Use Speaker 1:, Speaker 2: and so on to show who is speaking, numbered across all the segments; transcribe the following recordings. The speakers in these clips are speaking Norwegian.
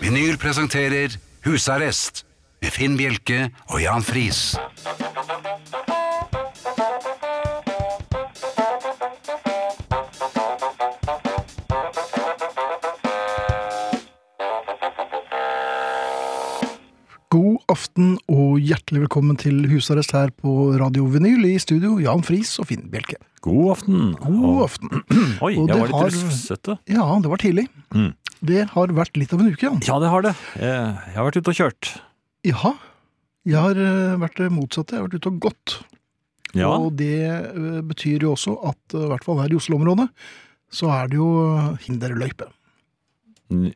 Speaker 1: Vinyl presenterer Husarrest med Finn Bjelke og Jan Friis.
Speaker 2: God aften og hjertelig velkommen til husarrest her på Radio Vinyl i studio, Jan Friis og Finn Bjelke.
Speaker 3: God aften.
Speaker 2: God
Speaker 3: Og-
Speaker 2: aften.
Speaker 3: Oi,
Speaker 2: Og
Speaker 3: jeg var
Speaker 2: det
Speaker 3: litt
Speaker 2: har-
Speaker 3: rufsete.
Speaker 2: Ja, det var tidlig.
Speaker 3: Mm.
Speaker 2: Det har vært litt av en uke, Jan.
Speaker 3: Ja, det har det. Eh, Jeg har vært ute og kjørt.
Speaker 2: Ja. Jeg har eh, vært det motsatte. Jeg har vært ute og gått.
Speaker 3: Ja,
Speaker 2: Og det eh, betyr jo også at eh, i hvert fall her i Oslo-området, så er det jo eh, hinderløype.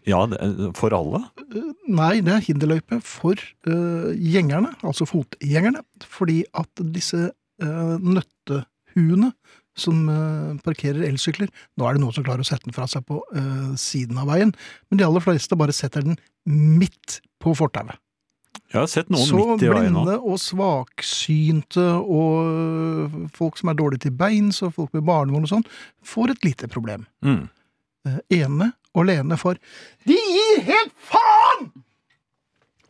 Speaker 3: ja det- eh, for alle.
Speaker 2: Eh, Nei, det er hinderløype for eh, gjengerne, altså fotgjengerne, fordi at disse eh, nøttehuene som eh, parkerer elsykler, nå er det noen som klarer å sette den fra seg på eh, siden av veien, men de aller fleste bare setter den midt på fortauet.
Speaker 3: Jeg har sett noen
Speaker 2: Så
Speaker 3: midt i veien nå.
Speaker 2: blinde og svaksynte og eh, folk som er dårlige til beins og folk med barnevogn og sånn, får et lite problem.
Speaker 3: Mm.
Speaker 2: Eh, ene og alene for De gir helt faen!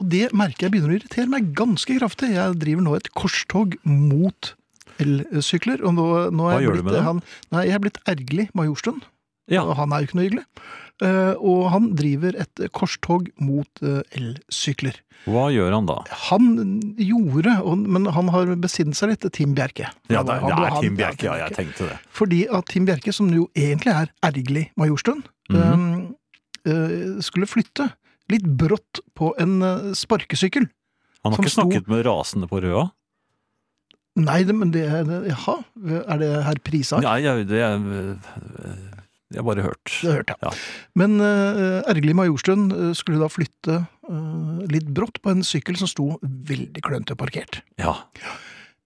Speaker 2: Og det merker jeg begynner å irritere meg ganske kraftig. Jeg driver nå et korstog mot elsykler. Og nå, nå er
Speaker 3: Hva
Speaker 2: jeg
Speaker 3: gjør du
Speaker 2: blitt,
Speaker 3: med dem?
Speaker 2: Han, nei, jeg er blitt ergerlig Majorstuen. Og
Speaker 3: Ja,
Speaker 2: han er jo ikke noe hyggelig. Eh, og han driver et korstog mot eh, elsykler.
Speaker 3: hva gjør han da?
Speaker 2: Han gjorde, og, men han har besinnet seg litt, Tim Bjerke.
Speaker 3: Ja,
Speaker 2: Han var-
Speaker 3: det er,
Speaker 2: han-
Speaker 3: det er
Speaker 2: han-
Speaker 3: Tim
Speaker 2: ja,
Speaker 3: Bjerke, ja, jeg tenkte det.
Speaker 2: fordi at Tim Bjerke, som jo egentlig er ergerlig Majorstuen,
Speaker 3: Mhm.
Speaker 2: eh, eh, skulle flytte litt brått på en eh, sparkesykkel.
Speaker 3: Han
Speaker 2: Som
Speaker 3: har ikke snakket med rasende på røda?
Speaker 2: Nei, det, men det er det- Jaha, er det herr Prisa?
Speaker 3: Nei, jeg, det jeg, jeg har bare hørt.
Speaker 2: Det hørte jeg.
Speaker 3: Ja.
Speaker 2: Men eh, ergerlig Majorstuen eh, skulle da flytte eh, litt brått på en sykkel som sto veldig klønete parkert.
Speaker 3: Ja.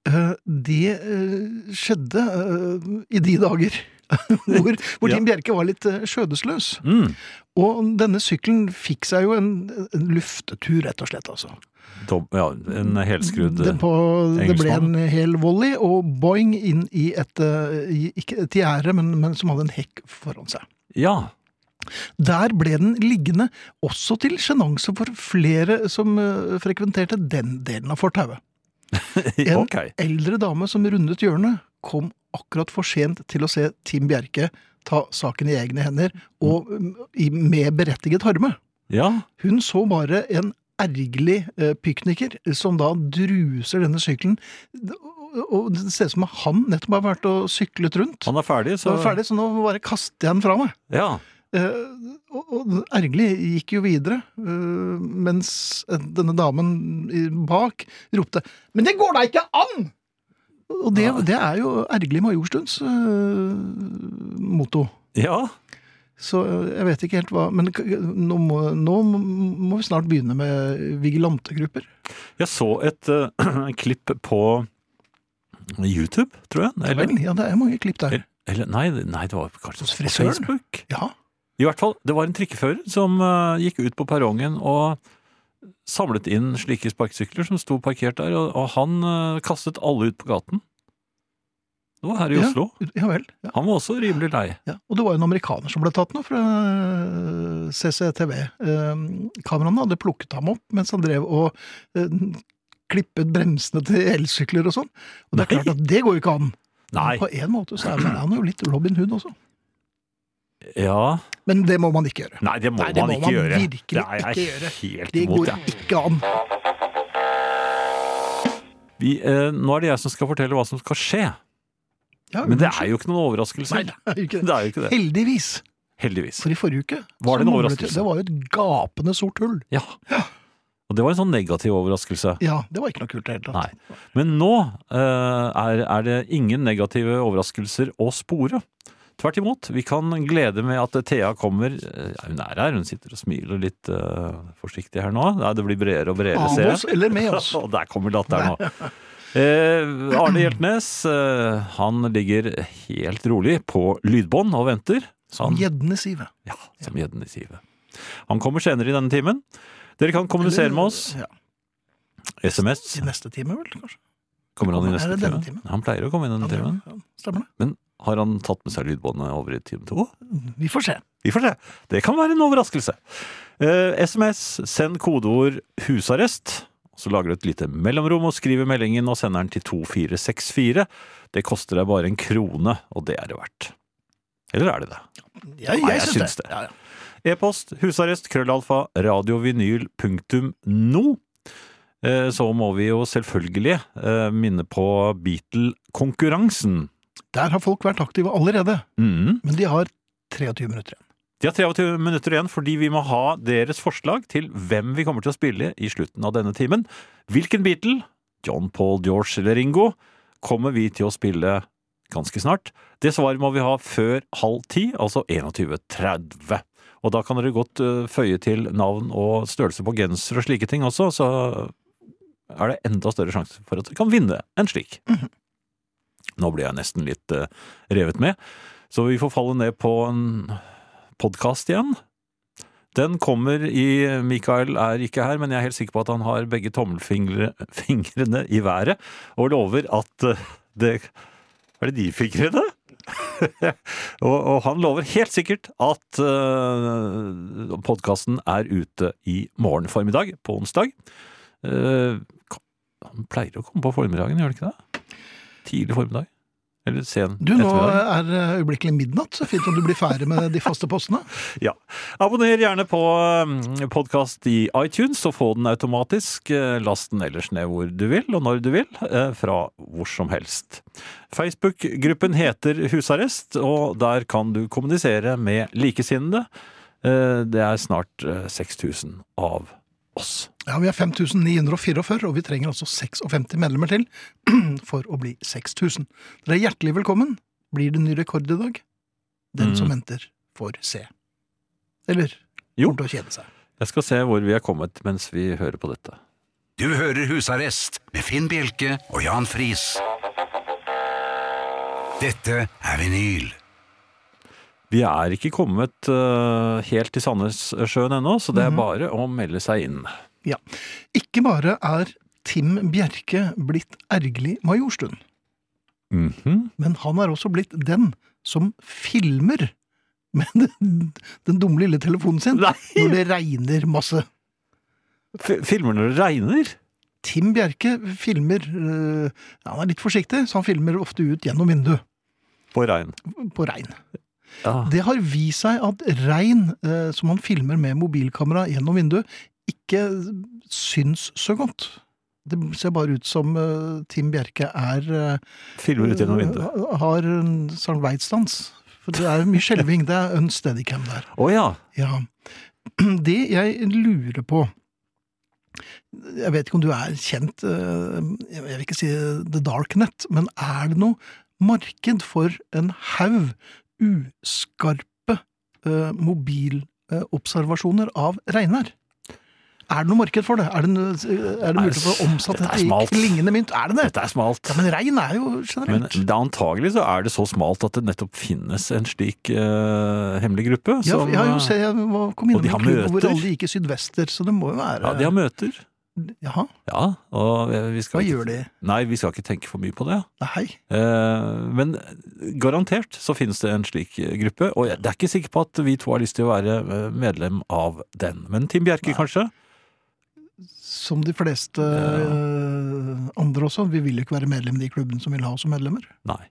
Speaker 2: Eh, det eh, skjedde eh, i de dager hvor, hvor
Speaker 3: Ja.
Speaker 2: Tim Bjerke var litt eh, skjødesløs.
Speaker 3: Mm.
Speaker 2: Og denne sykkelen fikk seg jo en, en luftetur, rett og slett. altså.
Speaker 3: Dob- ja en
Speaker 2: det,
Speaker 3: helskrudd
Speaker 2: på, det ble en
Speaker 3: engelskmann.
Speaker 2: hel volley, og boing inn i et, eh, i- ikke et gjerde, men, men som hadde en hekk foran seg.
Speaker 3: Ja.
Speaker 2: Der ble den liggende, også til sjenanse for flere som eh, frekventerte den delen av fortauet. En
Speaker 3: Ok.
Speaker 2: eldre dame som rundet hjørnet, kom akkurat for sent til å se Tim Bjerke ta saken i egne hender, og mm, i- med berettiget harme.
Speaker 3: Ja.
Speaker 2: Hun så bare en ergerlig eh, pikniker som da druser denne sykkelen. Og- Og det ser ut som han nettopp har vært og syklet rundt.
Speaker 3: Han er ferdig,
Speaker 2: Så
Speaker 3: så
Speaker 2: er ferdig, så nå bare kaster jeg den fra meg.
Speaker 3: Ja.
Speaker 2: Eh, og, og ergerlig gikk jo videre, eh, mens denne damen i- bak ropte 'Men det går da ikke an!' Og det,
Speaker 3: Nei.
Speaker 2: det er jo ergerlig Majorstuens eh, motto.
Speaker 3: Ja.
Speaker 2: Så øh, jeg vet ikke helt hva Men k- nå må, nå må vi snart begynne med vigilantegrupper.
Speaker 3: Jeg så et eh, klipp på YouTube, tror jeg.
Speaker 2: Ja
Speaker 3: Eller,
Speaker 2: vel, ja, det er mange klipp der.
Speaker 3: eller nei, nei, det var kanskje
Speaker 2: Hos
Speaker 3: på
Speaker 2: frisøren?
Speaker 3: Facebook.
Speaker 2: Ja.
Speaker 3: I hvert fall, det var en trikkefører som eh, gikk ut på perrongen og samlet inn slike sparkesykler som sto parkert der, og, og han eh, kastet alle ut på gaten. Det var her i
Speaker 2: Ja.
Speaker 3: Oslo.
Speaker 2: Ja vel. Ja.
Speaker 3: Han var også rimelig lei.
Speaker 2: Ja. Og det var jo en amerikaner som ble tatt nå, fra øh, CCTV. Ehm, Kameraene hadde plukket ham opp mens han drev og øh, klippet bremsene til elsykler og sånn. Og det er
Speaker 3: Nei.
Speaker 2: klart at det går jo ikke an.
Speaker 3: Nei,
Speaker 2: På en måte så er man- han er jo litt Robin Hood også.
Speaker 3: ja
Speaker 2: Men det må man ikke gjøre.
Speaker 3: Nei, det må
Speaker 2: Nei, det
Speaker 3: man
Speaker 2: må
Speaker 3: ikke
Speaker 2: man
Speaker 3: gjøre.
Speaker 2: virkelig
Speaker 3: det er jeg
Speaker 2: ikke gjøre.
Speaker 3: helt
Speaker 2: Det
Speaker 3: imot.
Speaker 2: går
Speaker 3: jeg.
Speaker 2: ikke an.
Speaker 3: Vi, eh, nå er det jeg som skal fortelle hva som skal skje,
Speaker 2: Ja,
Speaker 3: men det er jo ikke noen overraskelse.
Speaker 2: Nei, det er jo ikke det.
Speaker 3: Det er jo ikke det.
Speaker 2: Heldigvis.
Speaker 3: Heldigvis.
Speaker 2: For i forrige uke
Speaker 3: Var det
Speaker 2: så
Speaker 3: en
Speaker 2: manglet
Speaker 3: overraskelse?
Speaker 2: Det var jo et gapende sort hull.
Speaker 3: Ja. Og det var en sånn negativ overraskelse.
Speaker 2: Ja, det var ikke noe kult i det hele tatt.
Speaker 3: Nei. Men nå eh, er, er det ingen negative overraskelser å spore. Tvert imot. Vi kan glede med at Thea kommer. Eh, ja, hun er her, hun sitter og smiler litt eh, forsiktig her nå. Nei, det blir bredere og bredere,
Speaker 2: Av
Speaker 3: ser
Speaker 2: oss
Speaker 3: jeg.
Speaker 2: eller med oss.
Speaker 3: Og der kommer latteren nå. Eh, Arne Hjeltnes eh, han ligger helt rolig på lydbånd og venter. Han-
Speaker 2: Gjeddene, Sive.
Speaker 3: ja, som gjedden i sivet. Han kommer senere i denne timen. Dere kan kommunisere med oss.
Speaker 2: Ja,
Speaker 3: SMS
Speaker 2: I neste time, vel, kanskje.
Speaker 3: kommer han i
Speaker 2: Kommer-
Speaker 3: neste
Speaker 2: er det denne
Speaker 3: time.
Speaker 2: timen?
Speaker 3: Han pleier å komme i denne
Speaker 2: Ja, det-
Speaker 3: timen.
Speaker 2: ja, Stemmer det?
Speaker 3: har han tatt med seg lydbåndet over i time to.
Speaker 2: Vi får se.
Speaker 3: Vi får se. Det kan være en overraskelse. Eh, SMS, send kodeord 'husarrest'. Så lager du et lite mellomrom og skriver meldingen og sender den til 2464. Det koster deg bare en krone, og det er det verdt. Eller er det det?
Speaker 2: Ja,
Speaker 3: Nei, jeg syns det.
Speaker 2: Ja, ja.
Speaker 3: E-post husarrest krøllalfa radiovinyl punktum no. Eh, Så må vi jo selvfølgelig eh, minne på Beatle-konkurransen.
Speaker 2: Der har folk vært aktive allerede,
Speaker 3: Mhm.
Speaker 2: men de har 23 minutter igjen.
Speaker 3: De har 23 minutter igjen fordi vi må ha deres forslag til hvem vi kommer til å spille i slutten av denne timen. Hvilken Beatle, John Paul, George eller Ringo, kommer vi til å spille ganske snart. Det svaret må vi ha før halv ti, altså 21.30. Og da kan dere godt eh, føye til navn og størrelse på genser og slike ting også, så er det enda større sjanse for at dere kan vinne en slik. Nå ble jeg nesten litt eh, revet med, så vi får falle ned på en podkast igjen. Den kommer i Mikael er ikke her, men jeg er helt sikker på at han har begge tommelfingrene i været og lover at eh, det Er det de fingrene? og, og han lover helt sikkert at uh, podkasten er ute i morgen formiddag, på onsdag. Eh, kom- han pleier å komme på formiddagen, gjør han ikke det? Tidlig formiddag? Eller sen
Speaker 2: Du, nå
Speaker 3: ettermiddag?
Speaker 2: er eh, øyeblikkelig midnatt, så fint om du blir ferdig med de faste postene.
Speaker 3: Abonner gjerne på podkast i iTunes, så få den automatisk. Eh, Last den ellers ned hvor du vil, og når du vil, eh, fra hvor som helst. Facebook-gruppen heter Husarrest, og der kan du kommunisere med likesinnede. Eh, Det er snart eh, 6000 av oss.
Speaker 2: Ja, Vi er 5944, og vi trenger altså 56 medlemmer til for å bli 6000. Dere er hjertelig velkommen. Blir det ny rekord i dag? Den
Speaker 3: Mm.
Speaker 2: som venter, får se. Eller
Speaker 3: Jo.
Speaker 2: kommer til å kjede seg.
Speaker 3: Jeg skal se hvor vi er kommet mens vi hører på dette.
Speaker 1: Du hører Husarrest med Finn Bjelke og Jan Friis. Dette er vinyl.
Speaker 3: Vi er ikke kommet eh, helt til Sandnessjøen ennå, så det
Speaker 2: Mhm.
Speaker 3: er bare å melde seg inn.
Speaker 2: Ja. Ikke bare er Tim Bjerke blitt ergerlig majorstund,
Speaker 3: Mhm.
Speaker 2: men han er også blitt den som filmer med den, den dumme lille telefonen sin
Speaker 3: Nei!
Speaker 2: når det regner masse.
Speaker 3: F- Filmer når det regner?
Speaker 2: Tim Bjerke filmer øh, ja, Han er litt forsiktig, så han filmer ofte ut gjennom vinduet
Speaker 3: På regn.
Speaker 2: på regn.
Speaker 3: Ja.
Speaker 2: Det har vist seg at regn øh, som han filmer med mobilkamera gjennom vinduet, ikke syns så godt. Det ser bare ut som øh, Tim Bjerke er øh,
Speaker 3: Filmer ut gjennom vinduet.
Speaker 2: øh, Har en Sankt Veitsdans. For det er mye skjelving. Det er unsteadycam der.
Speaker 3: Å ja.
Speaker 2: Ja. Det jeg lurer på Jeg vet ikke om du er kjent eh, Jeg vil ikke si The Dark Net, men er det noe marked for en haug uskarpe eh, mobilobservasjoner av regnvær? Er det noe marked for det? Er det, noe- er det mulig for å omsette
Speaker 3: Dette er
Speaker 2: dette i
Speaker 3: smalt.
Speaker 2: klingende mynt? Er det det?
Speaker 3: Dette er smalt.
Speaker 2: Ja, men regn er jo
Speaker 3: Men
Speaker 2: generelt
Speaker 3: det, antagelig så er det så smalt at det nettopp finnes en slik eh, hemmelig gruppe.
Speaker 2: ja,
Speaker 3: som,
Speaker 2: jeg har
Speaker 3: eh,
Speaker 2: jo sett, jeg må- kom innom
Speaker 3: og de har
Speaker 2: en klubb hvor
Speaker 3: møter.
Speaker 2: alle gikk i sydvester, så det må jo være
Speaker 3: ja, de har møter.
Speaker 2: Jaha,
Speaker 3: Ja, og eh, vi skal
Speaker 2: hva
Speaker 3: ikke-
Speaker 2: gjør de?
Speaker 3: Nei, vi skal ikke tenke for mye på det.
Speaker 2: Nei.
Speaker 3: Eh, men garantert så finnes det en slik eh, gruppe, og jeg det er ikke sikker på at vi to har lyst til å være eh, medlem av den. Men Tim Bjerke, kanskje?
Speaker 2: Som de fleste
Speaker 3: Ja.
Speaker 2: eh, andre også. Vi vil jo ikke være medlem i de klubbene som vil ha oss som medlemmer.
Speaker 3: Nei.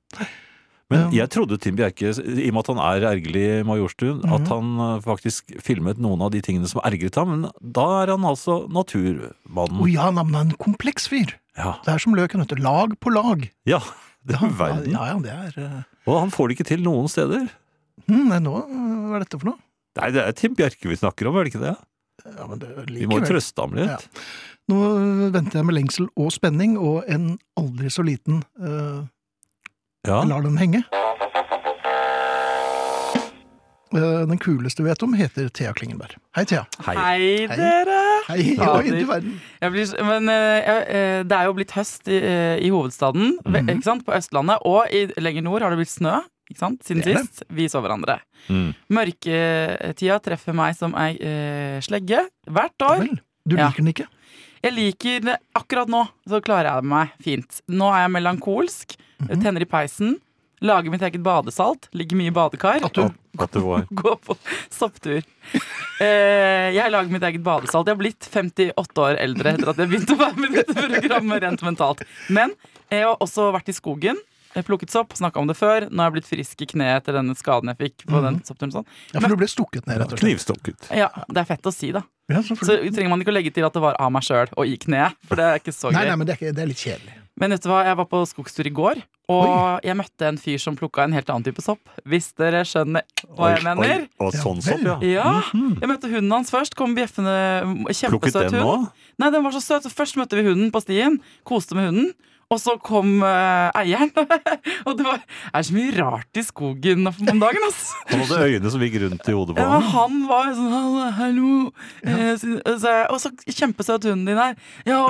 Speaker 3: Men
Speaker 2: Um,
Speaker 3: jeg trodde Tim Bjerke, i og med at han er ergerlig i Majorstuen, at
Speaker 2: Mhm.
Speaker 3: han eh, faktisk filmet noen av de tingene som ergret ham. Men da er han altså naturmannen.
Speaker 2: Å ja, nei, men han er en kompleks fyr.
Speaker 3: Ja.
Speaker 2: Det er som løken, vet du. Lag på lag.
Speaker 3: ja, det er
Speaker 2: ja,
Speaker 3: verden.
Speaker 2: ja, ja, det er eh,
Speaker 3: Og han får det ikke til noen steder.
Speaker 2: hm, Nei, nå eh, Hva er dette for noe?
Speaker 3: Nei, det er Tim Bjerke vi snakker om, er det ikke det?
Speaker 2: Ja, men det
Speaker 3: Vi må jo
Speaker 2: likevel.
Speaker 3: trøste ham litt.
Speaker 2: Nå eh, venter jeg med lengsel og spenning, og en aldri så liten eh,
Speaker 3: Ja.
Speaker 2: Jeg lar den henge. Eh, Den kuleste vi vet om, heter Thea Klingenberg. Hei, Thea.
Speaker 3: Hei.
Speaker 4: Hei,
Speaker 2: Hei.
Speaker 4: dere!
Speaker 2: Hei, oi, du verden.
Speaker 4: Jeg blir, s- men eh, jeg, eh, det er jo blitt høst i, eh, i hovedstaden, ve-
Speaker 2: Mhm.
Speaker 4: ikke sant? på Østlandet. Og i, lenger nord har det blitt snø ikke sant? siden
Speaker 2: Det er det.
Speaker 4: sist. Vi så hverandre.
Speaker 3: Mm.
Speaker 4: Mørketida treffer meg som ei eh, slegge hvert år.
Speaker 2: Vel, Du
Speaker 4: Ja.
Speaker 2: liker den ikke?
Speaker 4: Jeg liker det akkurat nå, så klarer jeg meg fint. Nå er jeg melankolsk,
Speaker 2: Mhm.
Speaker 4: tenner i peisen, Lager mitt eget badesalt. Ligger mye i badekar.
Speaker 2: At du,
Speaker 3: At det var
Speaker 4: Gå på sopptur. Eh, jeg lager mitt eget badesalt. Jeg har blitt 58 år eldre etter at jeg begynte å være med i dette programmet rent mentalt. Men jeg har også vært i skogen. eh, Plukket sopp, snakka om det før. Nå har jeg blitt frisk i kneet etter denne skaden jeg fikk. på
Speaker 2: Mhm.
Speaker 4: den soppturen og sånn.
Speaker 2: ja, for du ble stukket ned, rett og slett.
Speaker 3: knivstukket.
Speaker 4: Ja, Det er fett å si, da.
Speaker 2: Ja,
Speaker 4: Så
Speaker 2: selvfølgelig.
Speaker 4: trenger man ikke å legge til at det var av meg sjøl og i kneet. For det er ikke så
Speaker 2: Nei,
Speaker 4: gøy.
Speaker 2: nei, men det er, ikke, det er litt kjedelig.
Speaker 4: Men vet du hva, jeg var på skogstur i går, og jeg møtte en fyr som plukka en helt annen type sopp. Hvis dere skjønner hva jeg
Speaker 3: Oi, oi,
Speaker 4: mener.
Speaker 3: Og sånn sopp, ja.
Speaker 4: Ja, Jeg møtte hunden hans først. Kom bjeffende
Speaker 3: Mhm. Plukket
Speaker 4: Kjempesøt
Speaker 3: den nå?
Speaker 4: hund. Nei, den var så søt. Så først møtte vi hunden på stien, koste med hunden. Og så kom eh, eieren. og det var, er så mye rart i skogen om dagen, ass.
Speaker 3: Han hadde øyne som gikk rundt i hodet på
Speaker 4: Ja, men
Speaker 3: ham.
Speaker 4: han var sånn «Hallo, Hallo. Eh, så- så jeg, Og så kjempesøt hunden din her. Ja,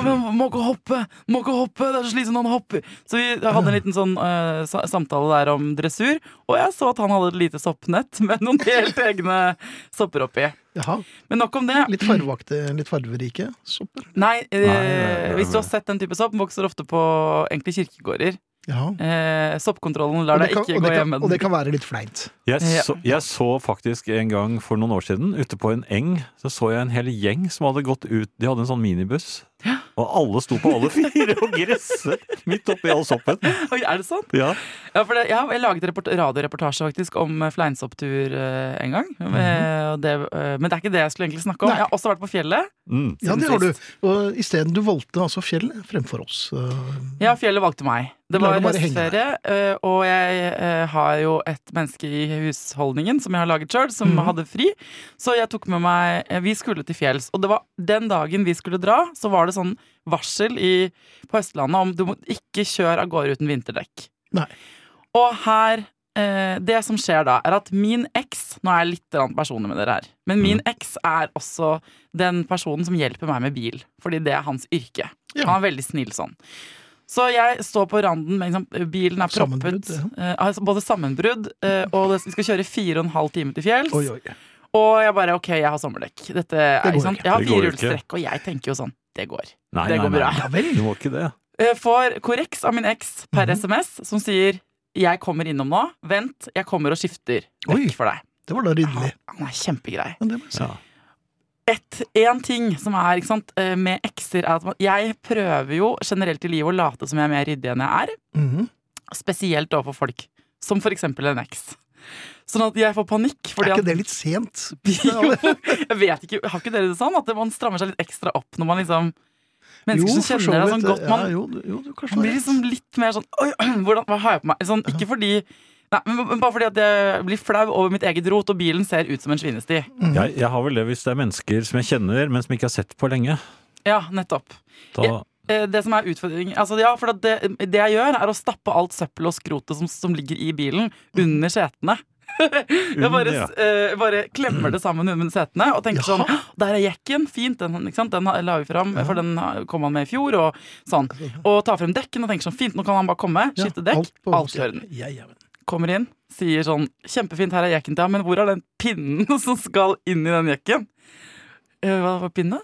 Speaker 4: men må ikke hoppe! Må ikke hoppe! Det er så slitsomt når han hopper. Så vi hadde en liten sånn eh, sa- samtale der om dressur, og jeg så at han hadde et lite soppnett med noen helt egne sopper oppi.
Speaker 2: Jaha,
Speaker 4: Men nok om det.
Speaker 2: litt farvevakte, litt farverike sopper.
Speaker 4: Nei,
Speaker 3: Nei,
Speaker 4: eh,
Speaker 3: nei,
Speaker 4: hvis du
Speaker 3: nei.
Speaker 4: har sett den type sopp, den vokser ofte på egentlig kirkegårder.
Speaker 2: Jaha.
Speaker 4: Eh, soppkontrollen lar
Speaker 2: Og det
Speaker 4: deg
Speaker 2: kan-
Speaker 4: ikke
Speaker 2: og det
Speaker 4: gå
Speaker 2: kan-
Speaker 4: hjem med
Speaker 2: Og det kan
Speaker 4: den.
Speaker 2: være litt fleint.
Speaker 3: Jeg
Speaker 4: Ja.
Speaker 3: så, jeg så faktisk en gang for noen år siden, ute på en eng, så så jeg en hel gjeng som hadde gått ut De hadde en sånn minibuss, og alle sto på alle fire og gresset midt oppi all soppen.
Speaker 4: Oi, er det sånn?
Speaker 3: Ja.
Speaker 4: Ja, for det, jeg har jeg laget report radioreportasje faktisk om eh, fleinsopptur eh, en gang. Eh, og det, eh, men det er ikke det jeg skulle egentlig snakke om.
Speaker 2: Mhm. Nei.
Speaker 4: Jeg har også vært på fjellet.
Speaker 3: Mm.
Speaker 2: Ja,
Speaker 4: Siden
Speaker 2: det har du.
Speaker 4: sist.
Speaker 2: Og isteden du valgte altså fjellet fremfor oss. øh,
Speaker 4: Ja, fjellet valgte meg. Det
Speaker 2: Lar
Speaker 4: var
Speaker 2: det bare henge
Speaker 4: høstferie, eh, og jeg eh, har jo et menneske i husholdningen som jeg har laget sjøl, som
Speaker 2: Mhm.
Speaker 4: hadde fri. Så jeg tok med meg eh, Vi skulle til fjells, og det var den dagen vi skulle dra, så var det sånn varsel i, på Østlandet om du må ikke kjøre av gårde uten vinterdekk.
Speaker 2: Nei.
Speaker 4: Og her eh, Det som skjer da, er at min eks Nå er jeg litt grann personlig med dere her, men min
Speaker 2: Mm.
Speaker 4: eks er også den personen som hjelper meg med bil, fordi det er hans yrke.
Speaker 2: Ja.
Speaker 4: Han er veldig snill sånn. Så jeg står på randen med liksom, bilen er
Speaker 2: Sammenbrudd,
Speaker 4: proppet. eh, altså både sammenbrudd eh, og det, vi skal kjøre fire og en halv time til fjells.
Speaker 2: Oi, oi.
Speaker 4: Og jeg bare OK, jeg har sommerdekk. Dette er,
Speaker 2: går
Speaker 4: ikke sant?
Speaker 2: ikke.
Speaker 4: Jeg har
Speaker 3: Det går
Speaker 4: firehjulstrekk, og jeg tenker jo sånn Det går.
Speaker 3: Nei,
Speaker 4: Det går
Speaker 3: nei,
Speaker 4: bra.
Speaker 3: nei.
Speaker 2: Ja vel.
Speaker 3: Du må ikke det.
Speaker 4: Eh, Får korreks av min eks per
Speaker 2: Mhm.
Speaker 4: SMS, som sier 'Jeg kommer innom nå. Vent, jeg kommer og skifter
Speaker 2: Oi.
Speaker 4: dekk for deg'.
Speaker 2: Det var da
Speaker 4: Han,
Speaker 2: ryddelig.
Speaker 4: han er kjempegrei.
Speaker 2: Men det må jeg si.
Speaker 3: Ja.
Speaker 4: Et, en ting som er ikke sant, eh, med ekser, er at man, jeg prøver jo generelt i livet å late som jeg er mer ryddig enn jeg er.
Speaker 2: Mhm.
Speaker 4: Spesielt overfor folk. Som for eksempel en eks. Sånn at jeg får panikk. Fordi
Speaker 2: Er
Speaker 4: at
Speaker 2: ikke det litt sent?
Speaker 4: Jo, jeg vet ikke, Har ikke dere det sånn? At man strammer seg litt ekstra opp når man liksom Mennesker
Speaker 2: Jo,
Speaker 4: som
Speaker 2: for så
Speaker 4: kjenner deg sånn
Speaker 2: vidt.
Speaker 4: godt, man
Speaker 2: Ja, jo, du- jo, du kanskje har
Speaker 4: man blir
Speaker 2: rett.
Speaker 4: liksom litt mer sånn Oi, hvordan, hva har jeg på meg? Sånn, ikke fordi Nei, men men bare fordi at jeg blir flau over mitt eget rot, og bilen ser ut som en svinesti.
Speaker 3: Jeg, jeg har vel det hvis det er mennesker som jeg kjenner, men som ikke har sett på lenge.
Speaker 4: Ja, nettopp.
Speaker 3: Da,
Speaker 4: Eh, Det som er utfordringen altså, ja, for at det, det jeg gjør, er å stappe alt søppel og skrotet som, som ligger i bilen, under setene. Jeg bare,
Speaker 3: ja.
Speaker 4: eh, bare klemmer det sammen under setene og tenker
Speaker 2: Jaha.
Speaker 4: sånn «Hå, Der er jekken! Fint, den, ikke sant? den la vi fram, for den kom han med i fjor. Og sånn Og tar frem dekken og tenker sånn Fint, nå kan han bare komme.
Speaker 2: Ja,
Speaker 4: Skifte dekk.
Speaker 2: på
Speaker 4: alt i orden.
Speaker 2: stedet. Ja, ja, men.
Speaker 4: Kommer inn, sier sånn Kjempefint, her er jekken til ham, men hvor er den pinnen som skal inn i den jekken? Eh, Hva var pinne?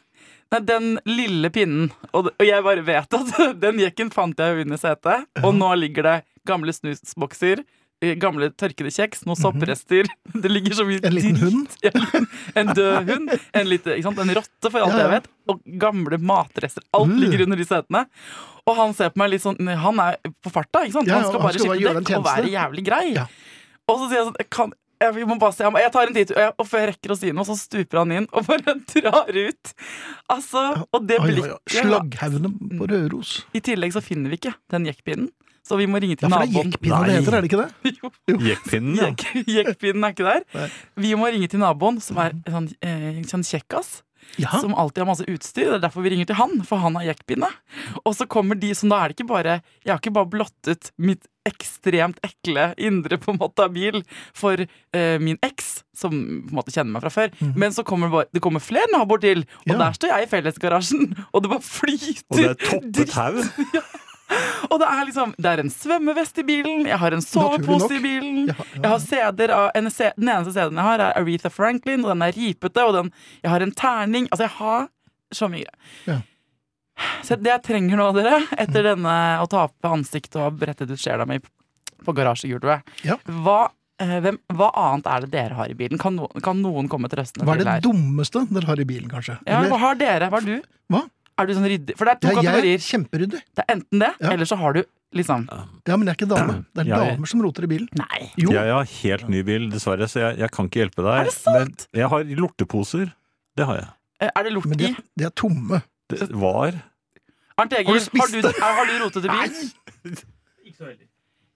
Speaker 4: Nei, den lille pinnen. Og, og jeg bare vet at den jekken fant jeg jo under setet, og nå ligger det gamle snusbokser. eh, Gamle tørkede kjeks, noen sopprester Det ligger så mye
Speaker 2: Mhm. En liten
Speaker 4: dritt.
Speaker 2: hund?
Speaker 4: Ja, En død hund, en, lite, ikke sant? en rotte for alt
Speaker 2: Ja, ja.
Speaker 4: jeg vet, og gamle matrester. Alt
Speaker 2: Mm.
Speaker 4: ligger under de setene. Og han ser på meg litt sånn Han er på farta, ikke sant?
Speaker 2: Ja, ja,
Speaker 4: Han skal
Speaker 2: han
Speaker 4: bare
Speaker 2: skal bare
Speaker 4: skifte
Speaker 2: gjøre en
Speaker 4: dekk og
Speaker 2: tjeneste.
Speaker 4: være jævlig grei.
Speaker 2: Ja.
Speaker 4: Og så sier jeg sånn jeg kan, jeg, vi må bare se, jeg, må- jeg tar en titt, og, jeg, og før jeg rekker å si noe, så stuper han inn og bare drar ut. Altså, og det Mm.
Speaker 2: Oi, oi, oi.
Speaker 4: blikket
Speaker 2: Slagghaugene på Røros.
Speaker 4: I tillegg så finner vi ikke den jekkpinnen, så vi må ringe
Speaker 2: Ja,
Speaker 4: til
Speaker 2: for det er
Speaker 4: naboen.
Speaker 2: jekkpinner det
Speaker 3: Nei.
Speaker 2: heter, er det ikke det?
Speaker 4: Jo,
Speaker 3: Jekkpinnen, ja.
Speaker 4: jekk- Jekkpinnen er ikke der.
Speaker 2: Nei. Mhm.
Speaker 4: Vi må ringe til naboen, som er en sånn, eh, sånn kjekkas.
Speaker 2: Ja.
Speaker 4: som alltid har masse utstyr. Det er derfor vi ringer til han, for han har jekkpinne. Og så kommer de som da er det ikke bare Jeg har ikke bare blottet mitt ekstremt ekle indre på en måte av bil for eh, min eks, som på en måte kjenner meg fra før, men så kommer det, bare, det kommer flere naboer til, og
Speaker 2: Mhm. Ja.
Speaker 4: der står jeg i fellesgarasjen, og det bare flyter
Speaker 3: Og det er toppet
Speaker 4: dritt.
Speaker 3: tau.
Speaker 4: Og det er liksom Det er en svømmevest i bilen, jeg har en
Speaker 2: Naturlig nok.
Speaker 4: sovepose i bilen,
Speaker 2: Ja, ja,
Speaker 4: jeg har CD-er av en se- Den eneste CD-en jeg har, er Aretha Franklin, og den er ripete, og den Jeg har en terning Altså, jeg har så mye
Speaker 2: Ja. Mm.
Speaker 4: Så det jeg trenger nå, dere, etter denne å tape ansiktet og ha brettet ut sjela mi på garasjegulvet.
Speaker 2: Ja.
Speaker 4: Hva, eh, hvem, hva annet er det dere har i bilen? Kan, no, kan noen komme til røstene
Speaker 2: Hva er
Speaker 4: til
Speaker 2: det
Speaker 4: her?
Speaker 2: dummeste dere har i bilen, kanskje?
Speaker 4: Ja,
Speaker 2: Eller-
Speaker 4: hva har dere? Hva har du?
Speaker 2: Hva?
Speaker 4: Er du sånn ryddig? For det er to
Speaker 2: Ja, jeg er
Speaker 4: kategorier.
Speaker 2: kjemperyddig.
Speaker 4: Det er enten det,
Speaker 2: Ja.
Speaker 4: eller så har du liksom
Speaker 2: Ja, men jeg er ikke dame. Det er
Speaker 3: Jeg-
Speaker 2: damer som roter i bilen.
Speaker 4: Nei.
Speaker 2: Jo,
Speaker 3: Jeg har helt ny bil, dessverre, så jeg, jeg kan ikke hjelpe deg.
Speaker 4: Er det sant?
Speaker 3: Men jeg har lorteposer. Det har jeg.
Speaker 4: Eh, Er det lort
Speaker 2: men de
Speaker 4: i?
Speaker 2: er, de er tomme.
Speaker 3: Det var
Speaker 4: Arnt Egil,
Speaker 2: Har
Speaker 4: har
Speaker 2: du spist
Speaker 4: du, er, har du rotete bil?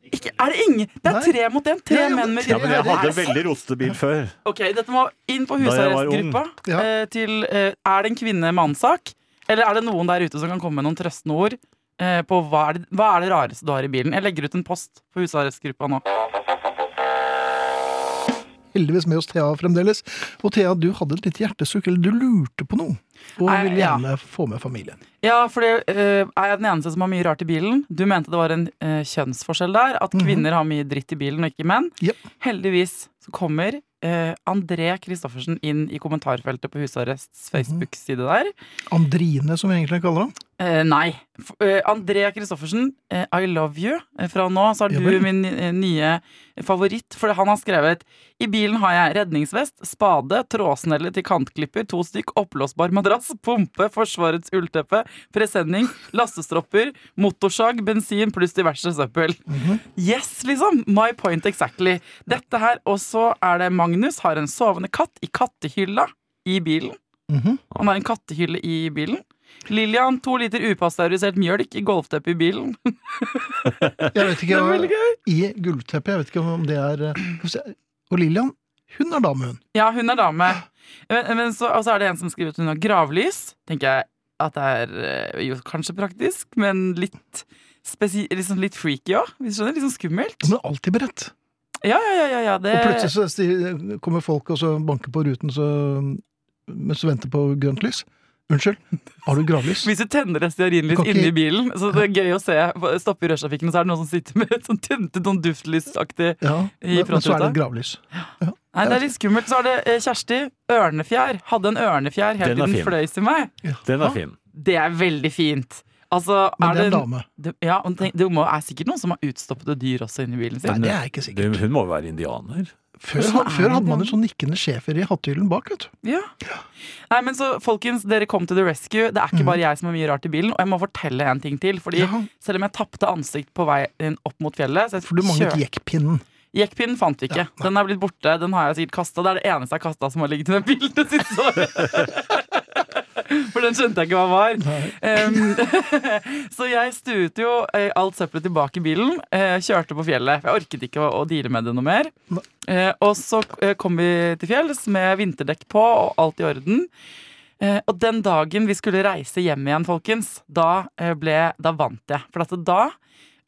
Speaker 4: Ikke, er det ingen? Det er
Speaker 2: Nei.
Speaker 4: tre mot én. Tre
Speaker 2: Ja, ja,
Speaker 4: menn med
Speaker 2: tre-
Speaker 3: Ja, men jeg
Speaker 2: det er
Speaker 3: hadde
Speaker 2: sant.
Speaker 3: veldig rotete bil før.
Speaker 4: Ok, dette må inn
Speaker 3: Da
Speaker 4: på
Speaker 3: jeg var ung.
Speaker 4: husarrestgruppa.
Speaker 2: Ja.
Speaker 4: eh, til eh, Er det en kvinne-mann-sak? Eller er det noen der ute som kan komme med noen trøstende ord eh, på hva er, det, hva er det rareste du har i bilen? Jeg legger ut en post på husarrestgruppa nå.
Speaker 2: Heldigvis med oss Thea fremdeles. Og Thea, du hadde et lite hjertesukk, eller du lurte på noe. Og
Speaker 4: Nei,
Speaker 2: ville
Speaker 4: ja.
Speaker 2: gjerne få med familien.
Speaker 4: Ja, for det, eh, er jeg den eneste som har mye rart i bilen? Du mente det var en eh, kjønnsforskjell der. At
Speaker 2: Mhm.
Speaker 4: kvinner har mye dritt i bilen, og ikke menn.
Speaker 2: Jep.
Speaker 4: Heldigvis så kommer eh, André Christoffersen inn i kommentarfeltet på
Speaker 2: Mhm.
Speaker 4: Husarrests Facebook-side der.
Speaker 2: Andrine, som vi egentlig kaller ham.
Speaker 4: Eh, nei. F eh, André Christoffersen, eh, I love you. Eh, Fra nå så er
Speaker 2: Ja
Speaker 4: du
Speaker 2: vel.
Speaker 4: min eh, nye favoritt. For han har skrevet I bilen har jeg redningsvest, spade, trådsnelle til kantklipper, to stykk, oppblåsbar madrass, pumpe, Forsvarets ullteppe, presenning, lastestropper, motorsag, bensin pluss diverse søppel.
Speaker 2: Mhm,
Speaker 4: Yes, liksom! My point exactly. Dette her, og så er det Magnus har en sovende katt i kattehylla i bilen.
Speaker 2: Mhm.
Speaker 4: Han har en kattehylle i bilen. Lillian, to liter upasteurisert mjølk i golfteppet i bilen.
Speaker 2: Jeg vet
Speaker 4: Det
Speaker 2: ikke,
Speaker 4: er veldig gøy.
Speaker 2: I gulvteppet, jeg vet ikke om det er eh, skal vi se. Og Lillian, hun er dame, hun.
Speaker 4: Ja, hun er dame. Men, men så, og så er det en som skriver at hun har gravlys. Tenker jeg at det er eh, jo kanskje praktisk, men litt, spesi liksom litt freaky òg. Hvis du skjønner? Litt sånn skummelt.
Speaker 2: Hun er alltid beredt.
Speaker 4: Ja, ja, ja. ja, ja det,
Speaker 2: Og plutselig så sti- kommer folk og så banker på ruten så, mens du venter på grønt lys. Unnskyld, har du gravlys?
Speaker 4: Hvis du tenner et stearinlys
Speaker 2: Du kan ikke-
Speaker 4: inni bilen, så det er gøy å se stoppe i rushtrafikken, og så er det noen som sitter med et sånn tente, sånn duftlysaktig
Speaker 2: Ja,
Speaker 4: I
Speaker 2: men, men så er
Speaker 4: frontruta?
Speaker 2: det et gravlys.
Speaker 4: Nei, det er litt skummelt. Så er det eh, Kjersti. Ørnefjær. Hadde en ørnefjær helt
Speaker 3: Den er
Speaker 4: til den
Speaker 3: fin.
Speaker 4: fløy til meg.
Speaker 2: Ja.
Speaker 3: Den
Speaker 2: Ja,
Speaker 3: er fin.
Speaker 4: Det er veldig fint. Altså,
Speaker 2: Men det er en
Speaker 4: det-
Speaker 2: dame.
Speaker 4: det, ja, og tenk, det må, er sikkert noen som har utstoppede dyr også inni bilen sin.
Speaker 2: Nei, det er jeg ikke sikker
Speaker 3: Du, Hun må jo være indianer.
Speaker 2: Før,
Speaker 4: Hvordan er
Speaker 2: før hadde
Speaker 4: det?
Speaker 2: man jo sånn nikkende sjefer i hatthyllen bak, vet du.
Speaker 4: Ja. Nei, men så Folkens, dere kom til the rescue. Det er
Speaker 2: Mm.
Speaker 4: ikke bare jeg som har mye rart i bilen. Og jeg må fortelle en ting til. Fordi
Speaker 2: Ja.
Speaker 4: Selv om jeg tapte ansikt på veien opp mot fjellet så jeg
Speaker 2: For du manglet
Speaker 4: kjør-
Speaker 2: jekkpinnen.
Speaker 4: Jekkpinnen fant vi ikke. den er blitt borte. Den har jeg sikkert kasta. Det er det eneste jeg har kasta som har ligget i den bilen det siste året. For den skjønte jeg ikke hva var. Em, så jeg stuet jo eh, alt søppelet tilbake i bilen. eh, kjørte på fjellet. For jeg orket ikke å, å deale med det noe mer.
Speaker 2: Nei.
Speaker 4: Eh, og så eh, kom vi til fjells med vinterdekk på og alt i orden. Eh, og den dagen vi skulle reise hjem igjen, folkens, da, eh, ble, da vant jeg. For at da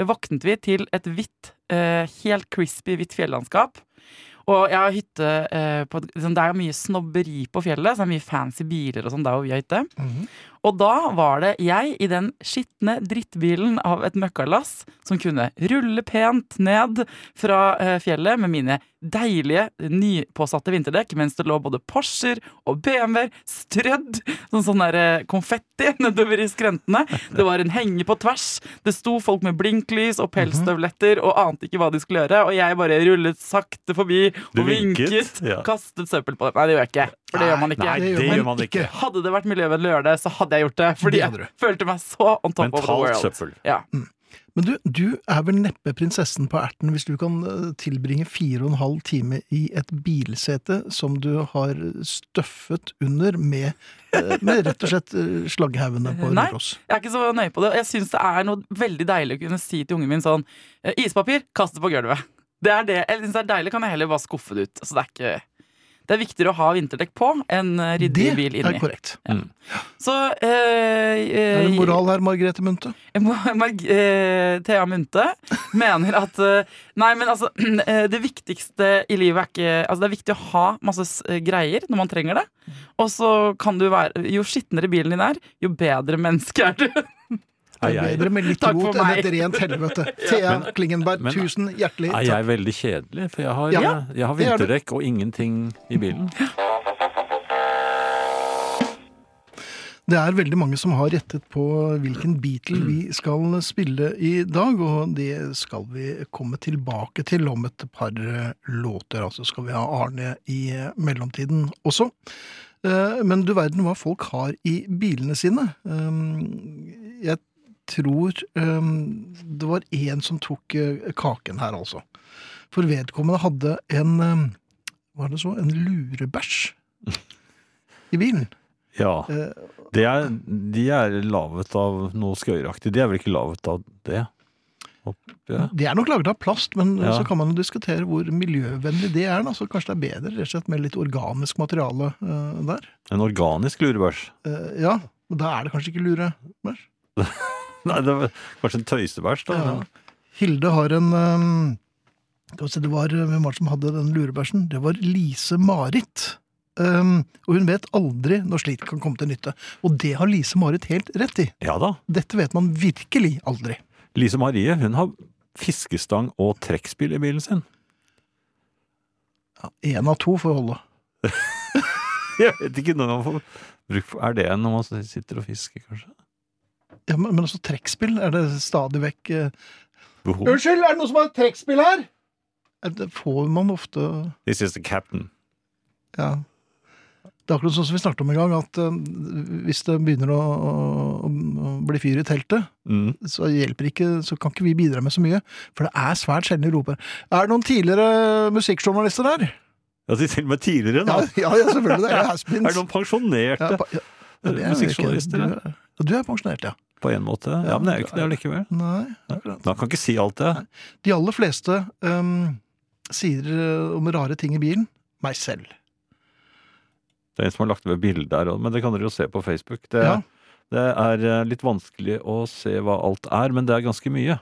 Speaker 4: våknet vi til et hvitt, eh, helt crispy hvitt fjellandskap. Og jeg har hytte eh, på, et- liksom, Det er jo mye snobberi på fjellet, så det er mye fancy biler og sånn der hvor vi har hytte.
Speaker 2: Mhm.
Speaker 4: Og da var det jeg i den skitne drittbilen av et møkkalass som kunne rulle pent ned fra eh, fjellet med mine deilige nypåsatte vinterdekk, mens det lå både Porscher og BMW-er strødd som sånn der eh, konfetti nedover i skrentene. Det var en henge på tvers. Det sto folk med blinklys og pelsstøvletter og ante ikke hva de skulle gjøre, og jeg bare rullet sakte forbi
Speaker 3: Du
Speaker 4: og vinket.
Speaker 3: vinket, ja.
Speaker 4: Kastet søppel på dem. Nei, det gjør jeg ikke. For det gjør man ikke.
Speaker 3: Nei,
Speaker 2: Det
Speaker 3: det
Speaker 2: gjør
Speaker 3: gjør man ikke.
Speaker 4: Hadde det vært miljøvennlig å gjøre det, så hadde jeg gjort det. Fordi
Speaker 2: Det hadde
Speaker 4: jeg følte meg så on top of the
Speaker 3: Mentalt
Speaker 4: world.
Speaker 3: søppel.
Speaker 4: Ja.
Speaker 2: Men du, du er vel neppe prinsessen på erten hvis du kan eh, tilbringe fire og en halv time i et bilsete som du har støffet under med, eh, med rett og slett eh, slagghaugene på
Speaker 4: Nei.
Speaker 2: Røros.
Speaker 4: Jeg er ikke så nøye på det. og Jeg syns det er noe veldig deilig å kunne si til ungen min sånn «Eh, Ispapir, kast det på gulvet. Det er det. Jeg syns det er deilig, kan jeg heller bare skuffe det ut. Så det er ikke Det er viktigere å ha vinterdekk på enn eh, ryddig
Speaker 2: Det
Speaker 4: bil
Speaker 2: er
Speaker 4: inni.
Speaker 2: korrekt.
Speaker 4: Så eh, eh,
Speaker 2: Er det moral her, Margrethe Munthe?
Speaker 4: Mar- Mar- eh, Thea Munthe mener at eh, Nei, men altså eh, Det viktigste i livet er ikke Altså, det er viktig å ha masse s- eh, greier når man trenger det. Og så kan du være Jo skitnere bilen din er, jo bedre menneske er du.
Speaker 3: Er
Speaker 2: Det er
Speaker 3: jeg,
Speaker 2: bedre med litt
Speaker 4: Takk for
Speaker 2: rot enn
Speaker 4: meg.
Speaker 2: et rent helvete. Thea Klingenberg,
Speaker 3: men-
Speaker 2: tusen hjertelig
Speaker 3: er
Speaker 2: takk.
Speaker 3: jeg veldig kjedelig? For jeg har, eh,
Speaker 2: Ja,
Speaker 3: jeg har
Speaker 2: det er du.
Speaker 3: vinterdekk og ingenting i bilen.
Speaker 2: Det er veldig mange som har rettet på hvilken Beatle vi skal spille i dag, og det skal vi komme tilbake til om et par eh, låter. Altså skal vi ha Arne i eh, mellomtiden også. Eh, Men du verden hva folk har i bilene sine. Eh, Jeg tror eh, det var én som tok eh, kaken her, altså. For vedkommende hadde en eh, Hva er det så? En lurebæsj i bilen.
Speaker 3: Ja.
Speaker 2: Eh,
Speaker 3: Det er, de er laget av noe skøyeraktig. De er vel ikke laget av det? Håper jeg.
Speaker 2: Det er nok laget av plast, men eh,
Speaker 3: Ja.
Speaker 2: så kan man jo diskutere hvor miljøvennlig det er. Da. Så kanskje det er bedre rett og slett med litt organisk materiale eh, der.
Speaker 3: En organisk lurebæsj.
Speaker 2: Eh, ja, og da er det kanskje ikke lure. mer.
Speaker 3: Nei, det var kanskje en tøysebæsj, da.
Speaker 2: Ja. Hilde har en eh, skal vi se, det var, eh, Hvem var det som hadde den lurebæsjen? Det var Lise Marit. Eh, og hun vet aldri når slikt kan komme til nytte. Og det har Lise Marit helt rett i.
Speaker 3: Ja da.
Speaker 2: Dette vet man virkelig aldri.
Speaker 3: Lise Marie hun har fiskestang og trekkspill i bilen sin.
Speaker 2: Én av to får holde.
Speaker 3: Jeg vet ikke når man får bruk for Er det når man sitter og fisker, kanskje?
Speaker 2: Ja, men, men også trekkspill er det stadig vekk eh,
Speaker 3: Behov.
Speaker 2: Unnskyld, er det noen som har trekkspill her? Det får man ofte
Speaker 3: This is the captain.
Speaker 2: Ja. Det er akkurat sånn som vi snakket om en gang, at eh, hvis det begynner å, å- å bli fyr i teltet,
Speaker 3: Mm.
Speaker 2: så hjelper ikke, så kan ikke vi bidra med så mye. For det er svært sjelden de roper Er det noen tidligere musikkjournalister her?
Speaker 3: Ja, de til og med tidligere,
Speaker 2: Ja,
Speaker 3: da.
Speaker 2: ja, ja selvfølgelig. Det er jo
Speaker 3: Er det
Speaker 2: Haspins.
Speaker 3: noen pensjonerte
Speaker 2: Ja, pa- ja, ja, det er jo ikke-
Speaker 3: musikkjournalister
Speaker 2: du
Speaker 3: ja.
Speaker 2: er- Ja, du er pensjonert, ja.
Speaker 3: på én måte? Ja, men det er jo ikke det allikevel.
Speaker 2: Nei.
Speaker 3: Man kan ikke si alt det.
Speaker 2: De aller fleste ehm, sier eh, om rare ting i bilen meg selv.
Speaker 3: Det er en som har lagt ved bilde her, men det kan dere jo se på Facebook. Det,
Speaker 2: Ja.
Speaker 3: det er eh, litt vanskelig å se hva alt er, men det er ganske mye.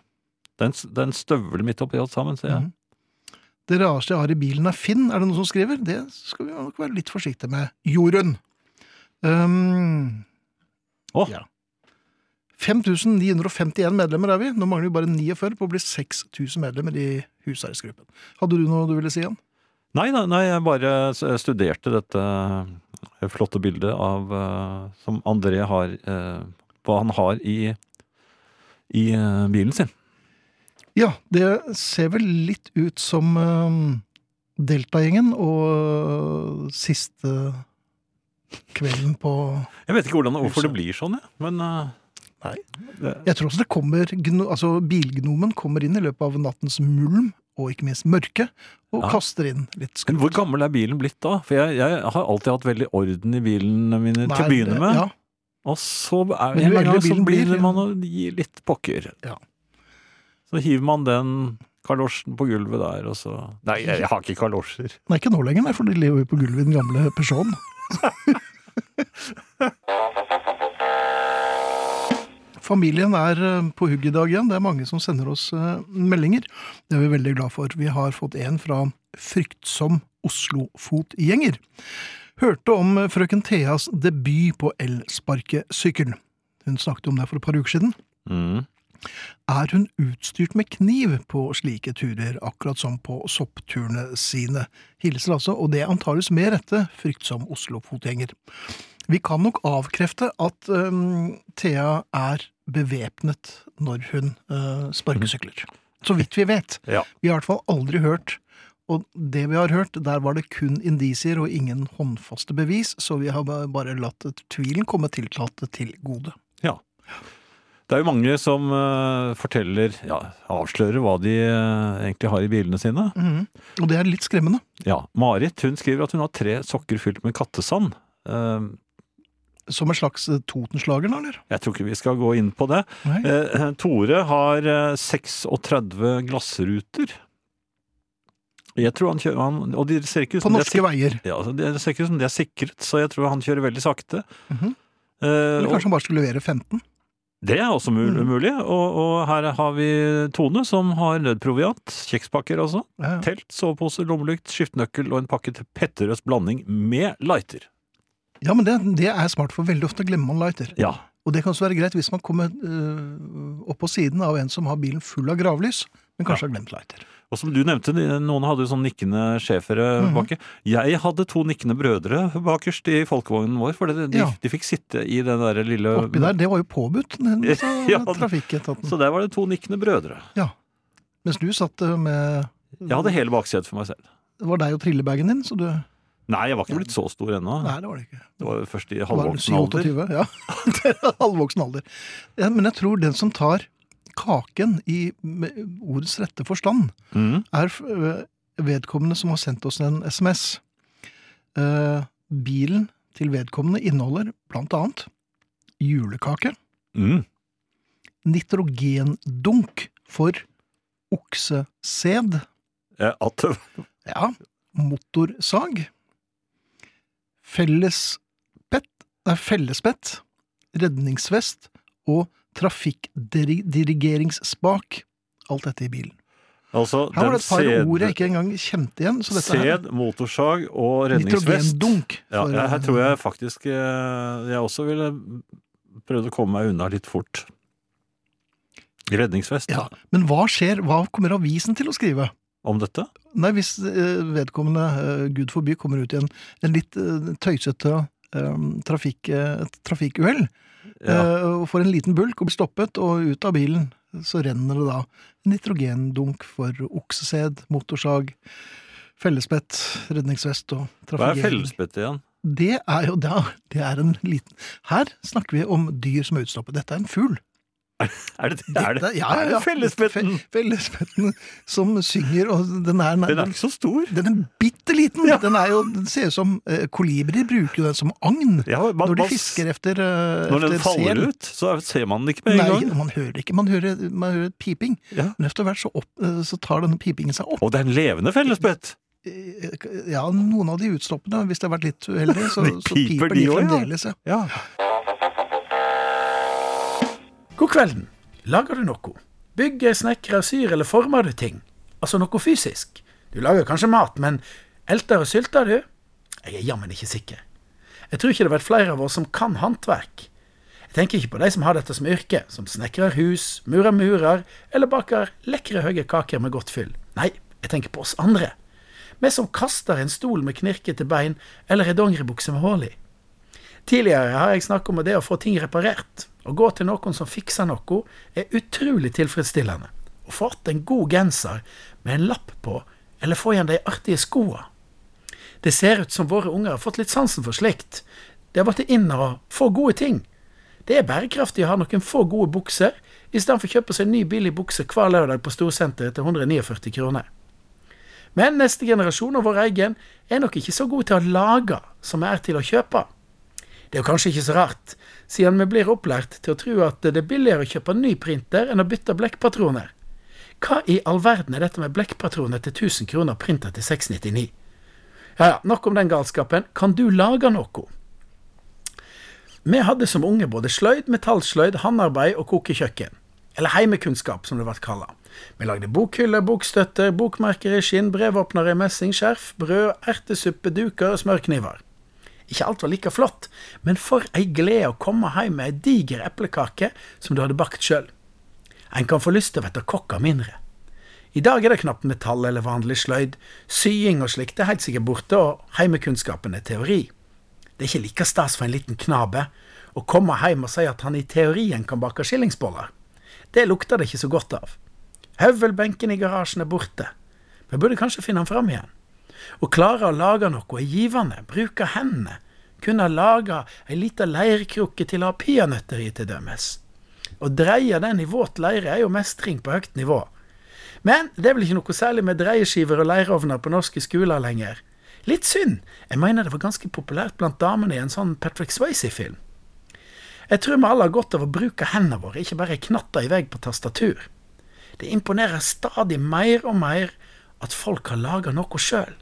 Speaker 3: Det er en, s- det er en støvel midt oppi alt sammen, ser jeg.
Speaker 2: Mhm. Det rareste jeg har i bilen er Finn, er det noen som skriver? Det skal vi nok være litt forsiktige med. Jorunn. Um,
Speaker 3: Å.
Speaker 2: ja. 5951 medlemmer er vi. Nå mangler vi bare 49 på å bli 6000 medlemmer i husarrestgruppen. Hadde du noe du ville si, Jan?
Speaker 3: Nei, nei, nei, jeg bare s- studerte dette eh, flotte bildet av eh, Som André har eh, Hva han har i, i eh, bilen sin.
Speaker 2: Ja, det ser vel litt ut som um, Delta-gjengen og eh, siste kvelden på
Speaker 3: Jeg vet ikke hvordan, hvorfor det blir sånn, jeg. Men eh,
Speaker 2: Nei.
Speaker 3: Det,
Speaker 2: Jeg tror også det kommer gno, altså Bilgnomen kommer inn i løpet av nattens mulm, og ikke minst mørke, og
Speaker 3: Ja.
Speaker 2: kaster inn litt
Speaker 3: Men
Speaker 2: skudd.
Speaker 3: hvor gammel er bilen blitt da? For jeg, jeg har alltid hatt veldig orden i bilene mine til å
Speaker 2: Nei,
Speaker 3: begynne
Speaker 2: det-
Speaker 3: med.
Speaker 2: Ja,
Speaker 3: Og så er
Speaker 2: Men
Speaker 3: en
Speaker 2: jo
Speaker 3: eller
Speaker 2: eldre
Speaker 3: annen så
Speaker 2: bilen
Speaker 3: blir
Speaker 2: blir,
Speaker 3: man å gi litt pokker.
Speaker 2: Ja.
Speaker 3: Så hiver man den kalosjen på gulvet der, og så Nei, jeg, jeg har ikke kalosjer.
Speaker 2: Nei, ikke nå lenger, nei, for de lever jo på gulvet i den gamle Peugeoten. Familien er eh, på hugg i dag igjen. Det er mange som sender oss eh, meldinger. Det er vi veldig glad for. Vi har fått en fra Fryktsom Oslofotgjenger. Hørte om eh, frøken Theas debut på elsparkesykkel. Hun snakket om det for et par uker siden.
Speaker 3: Mm.
Speaker 2: Er hun utstyrt med kniv på slike turer, akkurat som på soppturene sine? Hilser altså, og det antageligvis med rette, fryktsom Oslo-fotgjenger. Vi kan nok avkrefte at øhm, Thea er bevæpnet når hun øh, sparkesykler. Så vidt vi vet.
Speaker 3: Ja.
Speaker 2: Vi har i hvert fall aldri hørt og det vi har hørt, der var det kun indisier og ingen håndfaste bevis, så vi har ba- bare latt tvilen komme tiltalte til gode.
Speaker 3: Det er jo mange som eh, forteller, ja, avslører hva de eh, egentlig har i bilene sine.
Speaker 2: Mhm. Og det er litt skremmende.
Speaker 3: Ja, Marit hun skriver at hun har tre sokker fylt med kattesand. Eh,
Speaker 2: Som en slags eh, Totenslager, da, eller?
Speaker 3: jeg tror ikke vi skal gå inn på det.
Speaker 2: Nei.
Speaker 3: Eh, Tore har eh, 36 glassruter. Jeg tror han kjører han, Og de ser ikke ut
Speaker 2: På
Speaker 3: som de er
Speaker 2: norske
Speaker 3: sikret,
Speaker 2: veier.
Speaker 3: ja, altså, det ser ikke ut som de er sikret, så jeg tror han kjører veldig sakte.
Speaker 2: Mhm.
Speaker 3: Eh,
Speaker 2: Eller
Speaker 3: og,
Speaker 2: kanskje han bare skulle levere 15?
Speaker 3: det er også mul
Speaker 2: Mhm.
Speaker 3: mulig. Og, og her har vi Tone, som har nødproviant, kjekspakker altså,
Speaker 2: Ja, ja.
Speaker 3: telt, sovepose, lommelykt, skiftenøkkel og en pakke til Petterøes blanding med lighter.
Speaker 2: ja men det, det er smart, for veldig ofte glemmer man lighter.
Speaker 3: Ja.
Speaker 2: eh, Og det kan også være greit hvis man kommer øh, opp på siden av en som har bilen full av gravlys. men kanskje har glemt lighter.
Speaker 3: Og som du nevnte, de- noen hadde jo sånn nikkende schæfere
Speaker 2: Mhm.
Speaker 3: baki. Jeg hadde to nikkende brødre bakerst i folkevognen vår, for det- de,
Speaker 2: Ja.
Speaker 3: de fikk sitte i den der lille
Speaker 2: Oppi der, det var jo påbudt, den sa
Speaker 3: Ja, det-
Speaker 2: trafikketaten.
Speaker 3: Så der var det to nikkende brødre.
Speaker 2: Mens du satt eh, med
Speaker 3: Jeg hadde hele baksetet for meg selv.
Speaker 2: Det var deg og trillebagen din, så du Nei,
Speaker 3: Nei, jeg var ikke blitt så stor ennå.
Speaker 2: det var det ikke.
Speaker 3: Det var jo først i
Speaker 2: Det var
Speaker 3: halvvoksen alder.
Speaker 2: 27, Ja, det er halvvoksen alder. Ja, men jeg tror den som tar kaken i med ordets rette forstand,
Speaker 3: Mhm.
Speaker 2: er øh, vedkommende som har sendt oss en SMS. Eh, bilen til vedkommende inneholder blant annet julekake,
Speaker 3: Mhm.
Speaker 2: nitrogendunk for oksesæd,
Speaker 3: Eh, At det
Speaker 2: ja, motorsag, fellespett, nei, fellespett, redningsvest og trafikkdirigeringsspak. Alt dette i bilen.
Speaker 3: Altså,
Speaker 2: Her var
Speaker 3: den
Speaker 2: det et par ord jeg
Speaker 3: sæd,
Speaker 2: ikke engang kjente igjen. Så dette her,
Speaker 3: sæd, motorsag og redningsvest.
Speaker 2: nitrogendunk.
Speaker 3: Ja,
Speaker 2: for-
Speaker 3: jeg- her tror jeg faktisk eh, jeg også ville prøvd å komme meg unna litt fort. Redningsvest
Speaker 2: Ja, Men hva skjer? Hva kommer avisen til å skrive?
Speaker 3: om dette?
Speaker 2: Nei, Hvis eh, vedkommende, eh, gud forby, kommer ut i en, en litt eh, tøysete eh, trafikk, eh, et trafikkuhell,
Speaker 3: Ja.
Speaker 2: eh, og får en liten bulk og blir stoppet, og ut av bilen så renner det da nitrogendunk for oksesæd, motorsag, fellespett, redningsvest og
Speaker 3: Hva er
Speaker 2: trafikkering.
Speaker 3: fellespettet igjen?
Speaker 2: Det er jo da, det er en liten Her snakker vi om dyr som er utstoppet. Dette er en fugl.
Speaker 3: Er det, er det,
Speaker 2: Dette- ja, ja,
Speaker 3: er
Speaker 2: ja.
Speaker 3: det fellespetten?
Speaker 2: Fe- Fellespetten som synger, og den er,
Speaker 3: Den er ikke så stor.
Speaker 2: den er bitte liten! Den, er jo, den ser ut som eh, Kolibrier bruker jo den som agn
Speaker 3: Ja, man-
Speaker 2: når de
Speaker 3: man-
Speaker 2: fisker etter, eh,
Speaker 3: når den
Speaker 2: etter
Speaker 3: faller
Speaker 2: sel.
Speaker 3: ut, så er- ser man den ikke med en
Speaker 2: Nei,
Speaker 3: gang.
Speaker 2: man hører ikke. Man hører, man hører et piping.
Speaker 3: Ja.
Speaker 2: Men etter hvert så, opp, eh, så tar denne pipingen seg opp.
Speaker 3: Og det er en levende fellespett!
Speaker 2: Eh, Ja, noen av de utstoppende, hvis det har vært litt uheldig, så,
Speaker 3: De
Speaker 2: så
Speaker 3: piper
Speaker 2: piper
Speaker 3: de
Speaker 2: de
Speaker 3: også, ja.
Speaker 2: fremdeles. Ja.
Speaker 3: Ja.
Speaker 5: God kvelden. Lager du noe? Bygger, snekrer, syr eller former du ting? Altså noe fysisk. Du lager kanskje mat, men elter og sylter du? Jeg er jammen ikke sikker. Jeg tror ikke det har vært flere av oss som kan håndverk. Jeg tenker ikke på de som har dette som yrke, som snekrer hus, murer murer, eller baker lekre høye kaker med godt fyll. Nei, jeg tenker på oss andre. Vi som kaster en stol med knirkete bein, eller ei dongeribukse med hull i. Tidligere har jeg snakket om det å få ting reparert. Å gå til noen som fikser noe, er utrolig tilfredsstillende. Å få att en god genser med en lapp på, eller få igjen de artige skoene. Det ser ut som våre unger har fått litt sansen for slikt. De har blitt inn og få gode ting. Det er bærekraftig å ha noen få gode bukser, istedenfor å kjøpe seg en ny billig bukse hver lørdag på Storsenteret til 149 kroner. Men neste generasjon og vår egen er nok ikke så god til å lage som vi er til å kjøpe. Det er jo kanskje ikke så rart, siden vi blir opplært til å tro at det er billigere å kjøpe ny printer enn å bytte blekkpatroner. Hva i all verden er dette med blekkpatroner til 1000 kroner printer til 699? Ja, ja, nok om den galskapen. Kan du lage noe? Vi hadde som unge både sløyd, metallsløyd, håndarbeid og kokekjøkken. Eller heimekunnskap, som det ble kalla. Vi lagde bokhyller, bokstøtter, bokmerker i skinn, brevåpnere i messing, skjerf, brød, ertesuppe, duker og smørkniver. Ikke alt var like flott, men for ei glede å komme hjem med ei diger eplekake som du hadde bakt sjøl. En kan få lyst til å bli kokk av mindre. I dag er det knapt metall eller vanlig sløyd, sying og slikt er helt sikkert borte, og heimekunnskapen er teori. Det er ikke like stas for en liten knabe å komme hjem og si at han i teorien kan bake skillingsboller. Det lukter det ikke så godt av. Høvelbenken i garasjen er borte. Vi burde kanskje finne han fram igjen. Å klare å lage noe er givende, bruke hendene, kunne lage ei lita leirkrukke til å ha peanøtter i, til dømes. Å dreie den i våt leire er jo mestring på høyt nivå. Men det er vel ikke noe særlig med dreieskiver og leirovner på norske skoler lenger. Litt synd. Jeg mener det var ganske populært blant damene i en sånn Patrick Swayze-film. Jeg tror vi alle har godt av å bruke hendene våre, ikke bare knatter i vei på tastatur. Det imponerer stadig mer og mer at folk har laga noe sjøl.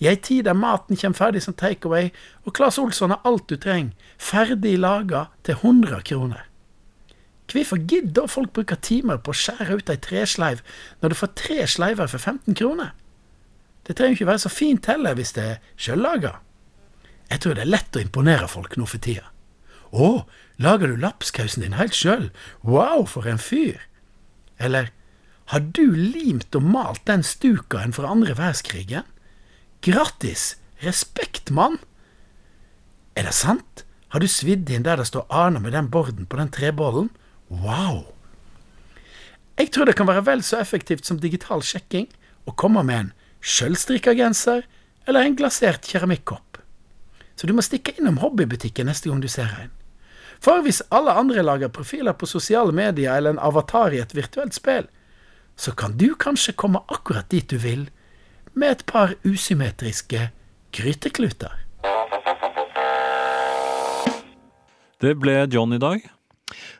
Speaker 5: I ei tid der maten kommer ferdig som takeaway, og Claes Olsson har alt du trenger, ferdig laga til 100 kroner. Hvorfor gidder da folk bruke timer på å skjære ut ei tresleiv, når du får tre sleiver for 15 kroner? Det trenger jo ikke være så fint heller, hvis det er sjøllaga. Jeg tror det er lett å imponere folk nå for tida. Å, lager du lapskausen din helt sjøl? Wow, for en fyr! Eller Har du limt og malt den stukaen fra andre verdenskrigen? Grattis! Respekt, mann! Er det sant? Har du svidd inn der det står Arne med den borden på den trebollen? Wow! Jeg tror det kan være vel så effektivt som digital sjekking å komme med en sjølstrikka genser eller en glasert keramikkopp. Så du må stikke innom hobbybutikken neste gang du ser en. For hvis alle andre lager profiler på sosiale medier eller en avatar i et virtuelt spill, så kan du kanskje komme akkurat dit du vil med et par usymmetriske grytekluter.
Speaker 3: Det ble John i dag.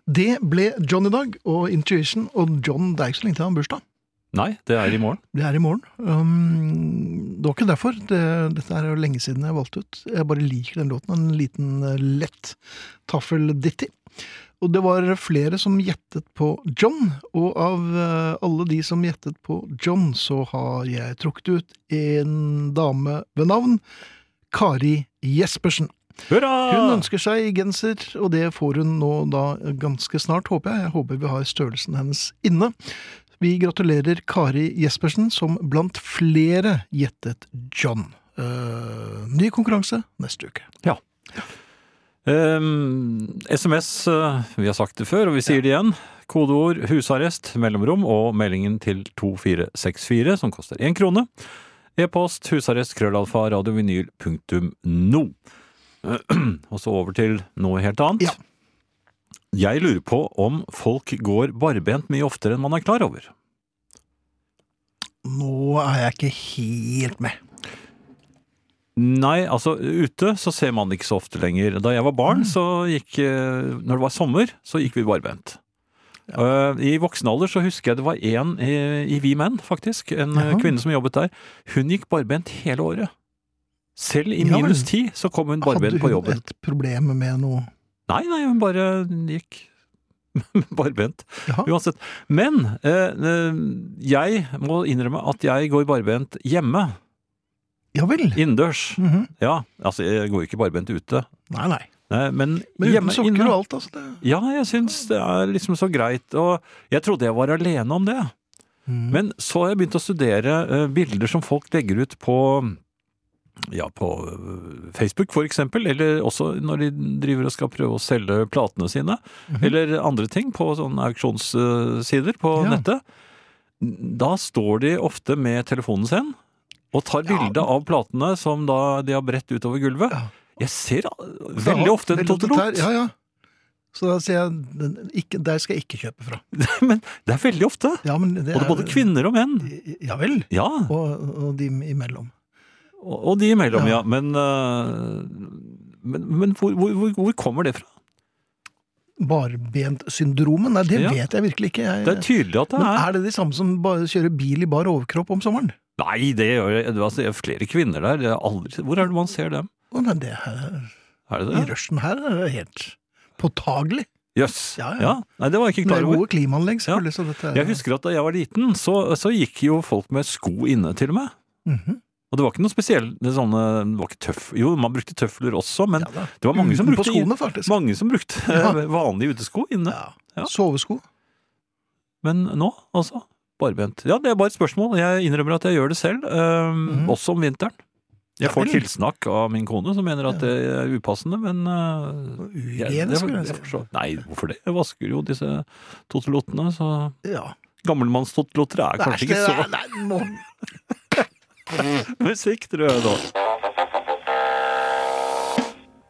Speaker 2: Det ble John i dag, og Intuition. Og John, det er ikke så lenge til han har bursdag.
Speaker 3: Nei, det er i morgen.
Speaker 2: Det er i morgen. Um, det var ikke derfor. Det, dette er jo lenge siden jeg valgte ut. Jeg bare liker den låten. En liten eh, lett taffelditti. Og det var flere som gjettet på John, og av eh, alle de som gjettet på John, så har jeg trukket ut en dame ved navn Kari Jespersen.
Speaker 3: Hurra!
Speaker 2: Hun ønsker seg genser, og det får hun nå da ganske snart, håper jeg. Jeg håper vi har størrelsen hennes inne. Vi gratulerer Kari Jespersen, som blant flere gjettet John. Eh, ny konkurranse neste uke.
Speaker 3: Ehm, SMS, eh, vi har sagt det før, og vi sier det igjen. Kodeord husarrest, mellomrom og meldingen til 2464, som koster én krone. E-post husarrest krøllalfa radiovinyl punktum no. Og så over til noe helt annet.
Speaker 2: Ja.
Speaker 3: Jeg lurer på om folk går barbent mye oftere enn man er klar over.
Speaker 2: Nå er jeg ikke helt med.
Speaker 3: Nei, altså ute så ser man det ikke så ofte lenger. Da jeg var
Speaker 2: Mm.
Speaker 3: barn, så gikk eh, Når det var sommer, så gikk vi barbent. Eh, I voksen alder så husker jeg det var en eh, i, i Vi Menn, faktisk. En eh,
Speaker 2: Jaha.
Speaker 3: kvinne som jobbet der. Hun gikk barbent hele året. Selv i
Speaker 2: Ja vel.
Speaker 3: minus ti så kom hun barbent
Speaker 2: Hadde
Speaker 3: på
Speaker 2: hun
Speaker 3: jobben.
Speaker 2: et problem med noe
Speaker 3: Nei, nei, hun bare gikk barbent.
Speaker 2: Jaha.
Speaker 3: Uansett. Men eh, eh, jeg må innrømme at jeg går barbent hjemme.
Speaker 2: Ja vel.
Speaker 3: Innendørs.
Speaker 2: Mhm.
Speaker 3: Ja, altså jeg går jo ikke barbent ute.
Speaker 2: Nei, nei.
Speaker 3: Nei, men,
Speaker 2: Men uten
Speaker 3: hjemme
Speaker 2: sokker
Speaker 3: inne
Speaker 2: og alt, altså. Det...
Speaker 3: Ja, jeg syns det er liksom så greit. Og jeg trodde jeg var alene om det.
Speaker 2: Mm.
Speaker 3: Men så har jeg begynt å studere eh, bilder som folk legger ut på ja, på eh, Facebook for eksempel, eller også når de driver og skal prøve å selge platene sine,
Speaker 2: Mhm.
Speaker 3: eller andre ting på sånn sånne auksjonssider på
Speaker 2: Ja.
Speaker 3: nettet. Da står de ofte med telefonen sin og tar
Speaker 2: Ja.
Speaker 3: bilde av platene som da de har bredt utover gulvet.
Speaker 2: Ja.
Speaker 3: Jeg ser eh,
Speaker 2: Det er
Speaker 3: veldig ofte en
Speaker 2: Mhm. veldig
Speaker 3: Totterot.
Speaker 2: der, Ja, ja. Så da sier jeg den- ikke, der skal jeg ikke kjøpe fra.
Speaker 3: Men det er veldig ofte.
Speaker 2: Ja, men det
Speaker 3: Og det er både kvinner og menn.
Speaker 2: Ja vel.
Speaker 3: Ja,
Speaker 2: Og, og de imellom.
Speaker 3: og og de imellom, ja.
Speaker 2: Ja.
Speaker 3: Men, øh, men, men hvor, hvor, hvor- hvor kommer det fra?
Speaker 2: Barbentsyndromet? Nei, det
Speaker 3: Ja.
Speaker 2: vet jeg virkelig ikke. Jeg,
Speaker 3: Det er tydelig at
Speaker 2: Eh,
Speaker 3: det
Speaker 2: men
Speaker 3: er
Speaker 2: er det de samme som bare kjører bil i bar overkropp om sommeren?
Speaker 3: Nei, det gjør jeg. det- Altså, det er flere kvinner der. Det er aldri... Hvor er det man ser dem?
Speaker 2: Å nei, det her,
Speaker 3: Er det
Speaker 2: I
Speaker 3: det?
Speaker 2: rushen her er det helt påtagelig.
Speaker 3: Jøss. Ja,
Speaker 2: Ja, ja.
Speaker 3: Nei, det var jeg
Speaker 2: Men Det
Speaker 3: ikke klar
Speaker 2: er
Speaker 3: over.
Speaker 2: gode klimaanlegg, selvfølgelig. Så dette er,
Speaker 3: Jeg husker at da jeg var liten, så, så gikk jo folk med sko inne, til og med.
Speaker 2: Mhm.
Speaker 3: Og det var ikke noe spesielt det sånne det var ikke tøff... Jo, man brukte tøfler også, men
Speaker 2: Ja da.
Speaker 3: det var mange som
Speaker 2: Utenpå
Speaker 3: brukte,
Speaker 2: skoene, faktisk.
Speaker 3: mange som brukte
Speaker 2: Ja.
Speaker 3: vanlige utesko inne.
Speaker 2: Ja.
Speaker 3: Ja.
Speaker 2: Sovesko.
Speaker 3: Men nå, altså? Barbent. Ja, det er bare et spørsmål. Jeg innrømmer at jeg gjør det selv, øhm,
Speaker 2: Mhm.
Speaker 3: også om vinteren.
Speaker 2: Ja
Speaker 3: Jeg får
Speaker 2: vel.
Speaker 3: tilsnakk av min kone, som mener at
Speaker 2: Ja.
Speaker 3: det er upassende, men øh, jeg,
Speaker 2: Uhygiene,
Speaker 3: det-
Speaker 2: skulle jeg
Speaker 3: jeg
Speaker 2: si.
Speaker 3: forstår. Nei, hvorfor det? Jeg vasker jo disse tottelotene, så
Speaker 2: Ja.
Speaker 3: Gammelmannstottelotter er
Speaker 2: Det er
Speaker 3: kanskje ikke så
Speaker 2: Nei, nei, nå
Speaker 3: Musikk, tror jeg da.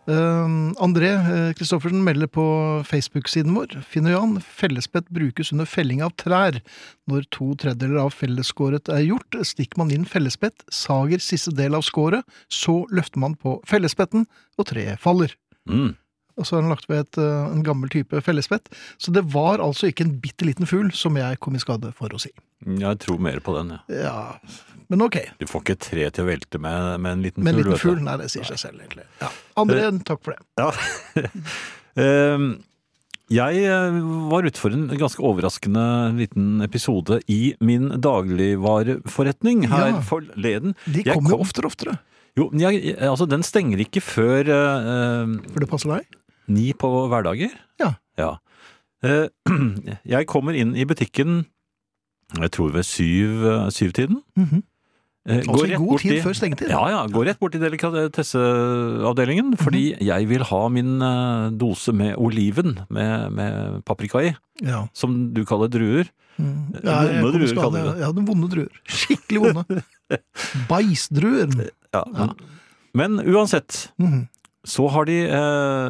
Speaker 2: Eh, André eh, Kristoffersen melder på Facebook-siden vår. Finn og Jan, fellesbett brukes under felling av trær. Når to tredjedeler av fellesskåret er gjort, stikker man inn fellesbett, sager siste del av skåret, så løfter man på fellesbetten, og treet faller.
Speaker 3: Mm.
Speaker 2: Og så har han lagt ved et, eh, en gammel type fellesbett. Så det var altså ikke en bitte liten fugl som jeg kom i skade for å si.
Speaker 3: Jeg tror mer på den, jeg.
Speaker 2: Ja, Men ok.
Speaker 3: Du får ikke tre til å velte med, med en liten
Speaker 2: Med en
Speaker 3: fugl,
Speaker 2: liten
Speaker 3: vet du.
Speaker 2: fugl? Nei, det sier seg selv, egentlig. Ja. André, takk for det.
Speaker 3: Ja. Ehm, jeg eh, var ute for en ganske overraskende liten episode i min dagligvareforretning her
Speaker 2: Ja.
Speaker 3: forleden.
Speaker 2: De
Speaker 3: Jeg
Speaker 2: kommer jo
Speaker 3: kom-
Speaker 2: oftere og oftere.
Speaker 3: Jo, men jeg, altså den stenger ikke før eh, eh,
Speaker 2: For det passer deg?
Speaker 3: ni på hverdager.
Speaker 2: Ja.
Speaker 3: Eh, jeg kommer inn i butikken jeg tror ved syv, eh, syvtiden.
Speaker 2: Mhm.
Speaker 3: Eh,
Speaker 2: Altså
Speaker 3: går
Speaker 2: i
Speaker 3: rett
Speaker 2: god
Speaker 3: bort
Speaker 2: tid
Speaker 3: i-
Speaker 2: før stengetid.
Speaker 3: Ja, ja. Gå rett bort i delikatesseavdelingen,
Speaker 2: Mhm.
Speaker 3: fordi jeg vil ha min eh, dose med oliven med, med paprika i,
Speaker 2: Ja.
Speaker 3: som du kaller druer.
Speaker 2: Mm.
Speaker 3: Eh,
Speaker 2: Ja, jeg
Speaker 3: vonde
Speaker 2: kom i
Speaker 3: druer
Speaker 2: skade.
Speaker 3: kaller vi det.
Speaker 2: Ja, de vonde druer. Skikkelig vonde. Bæsdruer.
Speaker 3: Ja, men, men uansett,
Speaker 2: Mhm.
Speaker 3: så har de eh,